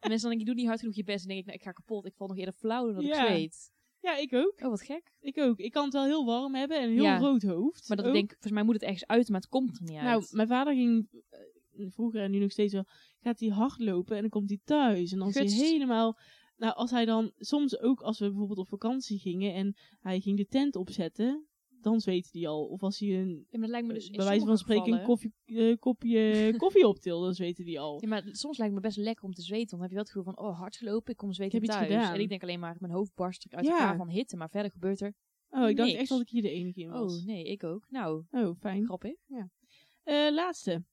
[SPEAKER 2] mensen dan denken, je doet niet hard genoeg je best. En denk ik, nou, ik ga kapot. Ik val nog eerder flauw dan dat
[SPEAKER 1] Ja.
[SPEAKER 2] ik zweet.
[SPEAKER 1] Ja, ik ook.
[SPEAKER 2] Oh, wat gek.
[SPEAKER 1] Ik ook. Ik kan het wel heel warm hebben en een heel
[SPEAKER 2] Ja.
[SPEAKER 1] rood hoofd.
[SPEAKER 2] Maar dat
[SPEAKER 1] ook.
[SPEAKER 2] ik denk, volgens mij moet het ergens uit, maar het komt er niet uit.
[SPEAKER 1] Oh. Nou, mijn vader ging eh, vroeger en nu nog steeds wel. Gaat hij hardlopen en dan komt hij thuis. En dan is hij
[SPEAKER 2] Gutst.
[SPEAKER 1] helemaal. Nou, als hij dan soms ook, als we bijvoorbeeld op vakantie gingen en hij ging de tent opzetten, dan zweet hij al. Of als hij een, eh,
[SPEAKER 2] Ja, maar dat lijkt me dus in
[SPEAKER 1] bij wijze van
[SPEAKER 2] sommige
[SPEAKER 1] spreken, een
[SPEAKER 2] gevallen-
[SPEAKER 1] koffie, eh, kopje koffie optil, dan zweet hij al.
[SPEAKER 2] Ja, maar soms lijkt het me best lekker om te zweten. Want dan heb je wel het gevoel van, oh, hard gelopen, ik kom zweten
[SPEAKER 1] Ik heb iets
[SPEAKER 2] thuis.
[SPEAKER 1] gedaan.
[SPEAKER 2] En ik denk alleen maar, mijn hoofd barst ik uit
[SPEAKER 1] Ja.
[SPEAKER 2] elkaar van hitte. Maar verder gebeurt er,
[SPEAKER 1] Oh, ik dacht
[SPEAKER 2] niks.
[SPEAKER 1] echt dat ik hier de enige in was.
[SPEAKER 2] oh nee, ik ook. Nou,
[SPEAKER 1] Oh, fijn.
[SPEAKER 2] grappig.
[SPEAKER 1] Eh, laatste.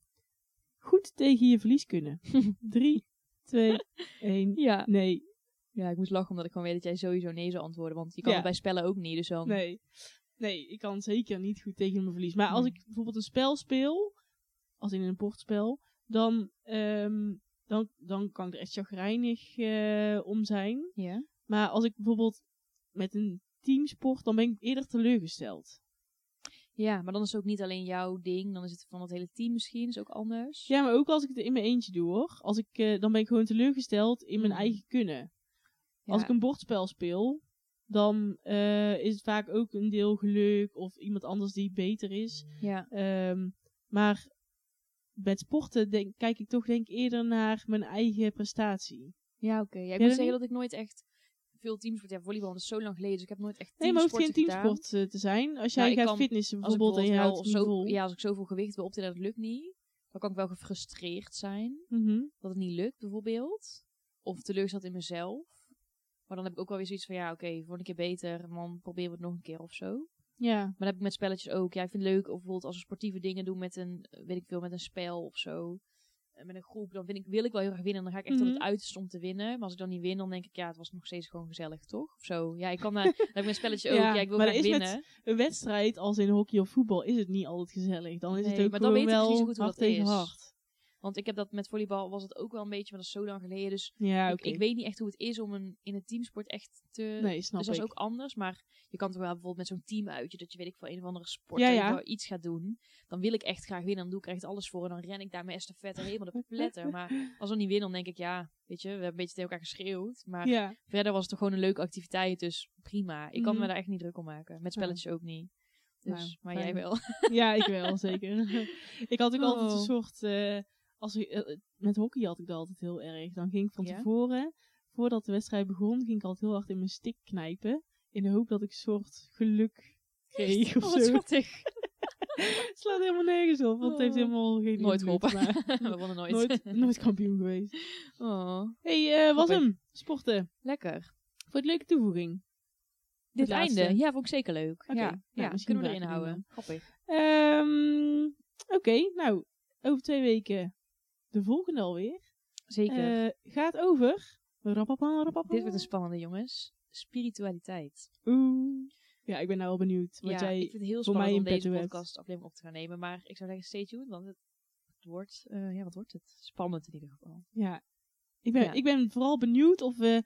[SPEAKER 1] Goed tegen je verlies kunnen. 3, 2, 1.
[SPEAKER 2] Ja.
[SPEAKER 1] Nee.
[SPEAKER 2] ja, ik moest lachen omdat ik gewoon weet dat jij sowieso nee zou antwoorden. Want je kan
[SPEAKER 1] Ja.
[SPEAKER 2] het bij spellen ook niet, dus dan...
[SPEAKER 1] Nee. Nee, ik kan zeker niet goed tegen mijn verlies. Maar als
[SPEAKER 2] Nee.
[SPEAKER 1] ik bijvoorbeeld een spel speel, als in een bordspel, dan, ehm, dan, dan kan ik er echt chagrijnig eh, om zijn.
[SPEAKER 2] Ja?
[SPEAKER 1] Maar als ik bijvoorbeeld met een teamsport, dan ben ik eerder teleurgesteld.
[SPEAKER 2] Ja, maar dan is het ook niet alleen jouw ding. Dan is het van het hele team misschien. is ook anders.
[SPEAKER 1] Ja, maar ook als ik het in mijn eentje doe hoor. Als ik, eh, dan ben ik gewoon teleurgesteld in mijn
[SPEAKER 2] Mhm.
[SPEAKER 1] eigen kunnen.
[SPEAKER 2] Ja.
[SPEAKER 1] Als ik een bordspel speel, dan eh, is het vaak ook een deel geluk of iemand anders die beter is.
[SPEAKER 2] ja.
[SPEAKER 1] Ehm, maar met sporten denk, kijk ik toch denk ik eerder naar mijn eigen prestatie.
[SPEAKER 2] Ja, oké. Ja, ik
[SPEAKER 1] dat
[SPEAKER 2] moet zeggen
[SPEAKER 1] niet?
[SPEAKER 2] dat ik nooit echt veel teamsport... Ja, volleybal is zo lang geleden, dus ik heb nooit echt
[SPEAKER 1] Nee, maar
[SPEAKER 2] teamsport
[SPEAKER 1] het hoeft geen
[SPEAKER 2] gedaan.
[SPEAKER 1] teamsport eh, te zijn. Als jij
[SPEAKER 2] Nou, ik
[SPEAKER 1] gaat
[SPEAKER 2] kan-
[SPEAKER 1] fitnessen
[SPEAKER 2] Als ik
[SPEAKER 1] bijvoorbeeld en
[SPEAKER 2] bijvoorbeeld
[SPEAKER 1] je
[SPEAKER 2] wel
[SPEAKER 1] houdt
[SPEAKER 2] of
[SPEAKER 1] het niet vol.
[SPEAKER 2] zo, ja, als ik zoveel gewicht wil optillen, dat lukt niet. Dan kan ik wel gefrustreerd zijn
[SPEAKER 1] Mhm.
[SPEAKER 2] dat het niet lukt, bijvoorbeeld. Of teleurgesteld in mezelf. Maar dan heb ik ook wel weer zoiets van, ja, oké, voor een keer beter. En dan proberen we het nog een keer of zo.
[SPEAKER 1] ja.
[SPEAKER 2] Maar dat heb ik met spelletjes ook. Ja, ik vind het leuk. Of bijvoorbeeld als we sportieve dingen doen met een, eh, weet ik veel, met een spel of zo. Eh, Met een groep. Dan vind ik, wil ik wel heel graag winnen. En dan ga ik echt tot
[SPEAKER 1] Mhm.
[SPEAKER 2] het uiterste om te winnen. Maar als ik dan niet win, dan denk ik, ja, het was nog steeds gewoon gezellig, toch? Of zo. Ja, ik kan daar, dat heb ik met spelletje ook.
[SPEAKER 1] Ja,
[SPEAKER 2] Ja, ik wil
[SPEAKER 1] maar
[SPEAKER 2] graag
[SPEAKER 1] dat is met-
[SPEAKER 2] winnen.
[SPEAKER 1] Een wedstrijd als in hockey of voetbal is het niet altijd gezellig. Dan is het
[SPEAKER 2] Nee,
[SPEAKER 1] ook
[SPEAKER 2] maar dan
[SPEAKER 1] gewoon
[SPEAKER 2] weet ik
[SPEAKER 1] wel
[SPEAKER 2] precies hoe goed hoe
[SPEAKER 1] hard
[SPEAKER 2] dat
[SPEAKER 1] tegen
[SPEAKER 2] is.
[SPEAKER 1] hard.
[SPEAKER 2] Want ik heb dat met volleybal, was het ook wel een beetje, maar dat is zo lang geleden. Dus
[SPEAKER 1] Ja,
[SPEAKER 2] ik,
[SPEAKER 1] oké.
[SPEAKER 2] ik weet niet echt hoe het is om een, in een teamsport echt te...
[SPEAKER 1] Nee, snap
[SPEAKER 2] dus dat is
[SPEAKER 1] ik.
[SPEAKER 2] ook anders, maar je kan toch wel bijvoorbeeld met zo'n team uitje, dat je weet ik van een of andere sport,
[SPEAKER 1] Ja,
[SPEAKER 2] dat
[SPEAKER 1] ja.
[SPEAKER 2] je wel iets gaat doen. Dan wil ik echt graag winnen, dan doe ik er echt alles voor en dan ren ik daar mijn estafette helemaal de pletter. Maar als we niet winnen, dan denk ik, ja, weet je, we hebben een beetje tegen elkaar geschreeuwd. Maar
[SPEAKER 1] Ja,
[SPEAKER 2] verder was het toch gewoon een leuke activiteit, dus prima. Ik kan
[SPEAKER 1] Mhm.
[SPEAKER 2] me daar echt niet druk om maken, met spelletjes ook niet. Dus,
[SPEAKER 1] Nou,
[SPEAKER 2] maar
[SPEAKER 1] fijn.
[SPEAKER 2] jij wel.
[SPEAKER 1] ja, ik wel, zeker. ik had ook altijd een
[SPEAKER 2] Oh.
[SPEAKER 1] soort... eh, als, ik- eh, met hockey had ik dat altijd heel erg. Dan ging ik van
[SPEAKER 2] Ja?
[SPEAKER 1] tevoren, voordat de wedstrijd begon, ging ik altijd heel hard in mijn stick knijpen. In de hoop dat ik een soort geluk kreeg of
[SPEAKER 2] Oh, wat
[SPEAKER 1] zo.
[SPEAKER 2] schattig.
[SPEAKER 1] Het slaat helemaal nergens op, want het heeft
[SPEAKER 2] Oh.
[SPEAKER 1] helemaal geen
[SPEAKER 2] Nooit
[SPEAKER 1] invloed,
[SPEAKER 2] geholpen.
[SPEAKER 1] maar
[SPEAKER 2] we wonnen nooit.
[SPEAKER 1] Nooit, nooit kampioen geweest.
[SPEAKER 2] Oh,
[SPEAKER 1] hey, eh was
[SPEAKER 2] Grappig.
[SPEAKER 1] hem. Sporten.
[SPEAKER 2] lekker.
[SPEAKER 1] Voor het leuke toevoeging.
[SPEAKER 2] Dit
[SPEAKER 1] Het
[SPEAKER 2] einde?
[SPEAKER 1] laatste.
[SPEAKER 2] Ja, vond ik zeker leuk.
[SPEAKER 1] Oké,
[SPEAKER 2] ja,
[SPEAKER 1] nou,
[SPEAKER 2] ja
[SPEAKER 1] misschien
[SPEAKER 2] kunnen we
[SPEAKER 1] vragen
[SPEAKER 2] erin
[SPEAKER 1] we die
[SPEAKER 2] houden. Grappig.
[SPEAKER 1] Ehm, Oké, nou, over twee weken de volgende alweer.
[SPEAKER 2] Zeker.
[SPEAKER 1] Eh, gaat over. Rapapa, rapapa.
[SPEAKER 2] Dit wordt een spannende, jongens. Spiritualiteit.
[SPEAKER 1] Oeh. Ja, ik ben nou wel benieuwd. Wat
[SPEAKER 2] ja,
[SPEAKER 1] jij.
[SPEAKER 2] ik vind het heel
[SPEAKER 1] voor mij
[SPEAKER 2] spannend
[SPEAKER 1] in
[SPEAKER 2] om deze
[SPEAKER 1] petto hebt.
[SPEAKER 2] podcast aflevering op te gaan nemen. Maar ik zou zeggen, stay tuned, want het, het wordt, eh, ja, wat wordt het? Spannend in ieder geval.
[SPEAKER 1] Ja. Ik ben,
[SPEAKER 2] Ja.
[SPEAKER 1] ik ben vooral benieuwd of we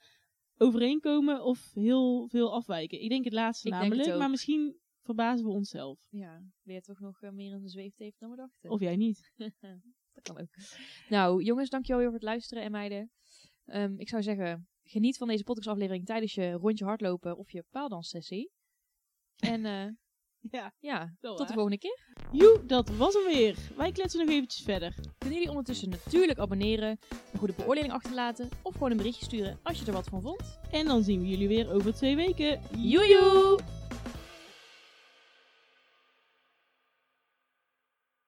[SPEAKER 1] overeenkomen of heel veel afwijken. Ik denk het laatste
[SPEAKER 2] Ik denk het
[SPEAKER 1] namelijk,
[SPEAKER 2] ook.
[SPEAKER 1] maar misschien verbazen we onszelf.
[SPEAKER 2] Ja, weer toch nog eh, meer in de zweefteef dan we dachten.
[SPEAKER 1] Of jij niet.
[SPEAKER 2] Dat kan ook. Nou, jongens, dankjewel weer voor het luisteren en meiden. Ehm, ik zou zeggen, geniet van deze podcastaflevering tijdens je rondje hardlopen of je paaldanssessie. En eh,
[SPEAKER 1] Ja,
[SPEAKER 2] ja,
[SPEAKER 1] wel
[SPEAKER 2] tot de
[SPEAKER 1] waar.
[SPEAKER 2] volgende keer.
[SPEAKER 1] Joe, dat was hem weer. Wij kletsen nog eventjes verder.
[SPEAKER 2] Kunnen jullie ondertussen natuurlijk abonneren, een goede beoordeling achterlaten of gewoon een berichtje sturen als je er wat van vond.
[SPEAKER 1] En dan zien we jullie weer over twee weken.
[SPEAKER 2] Joejoe!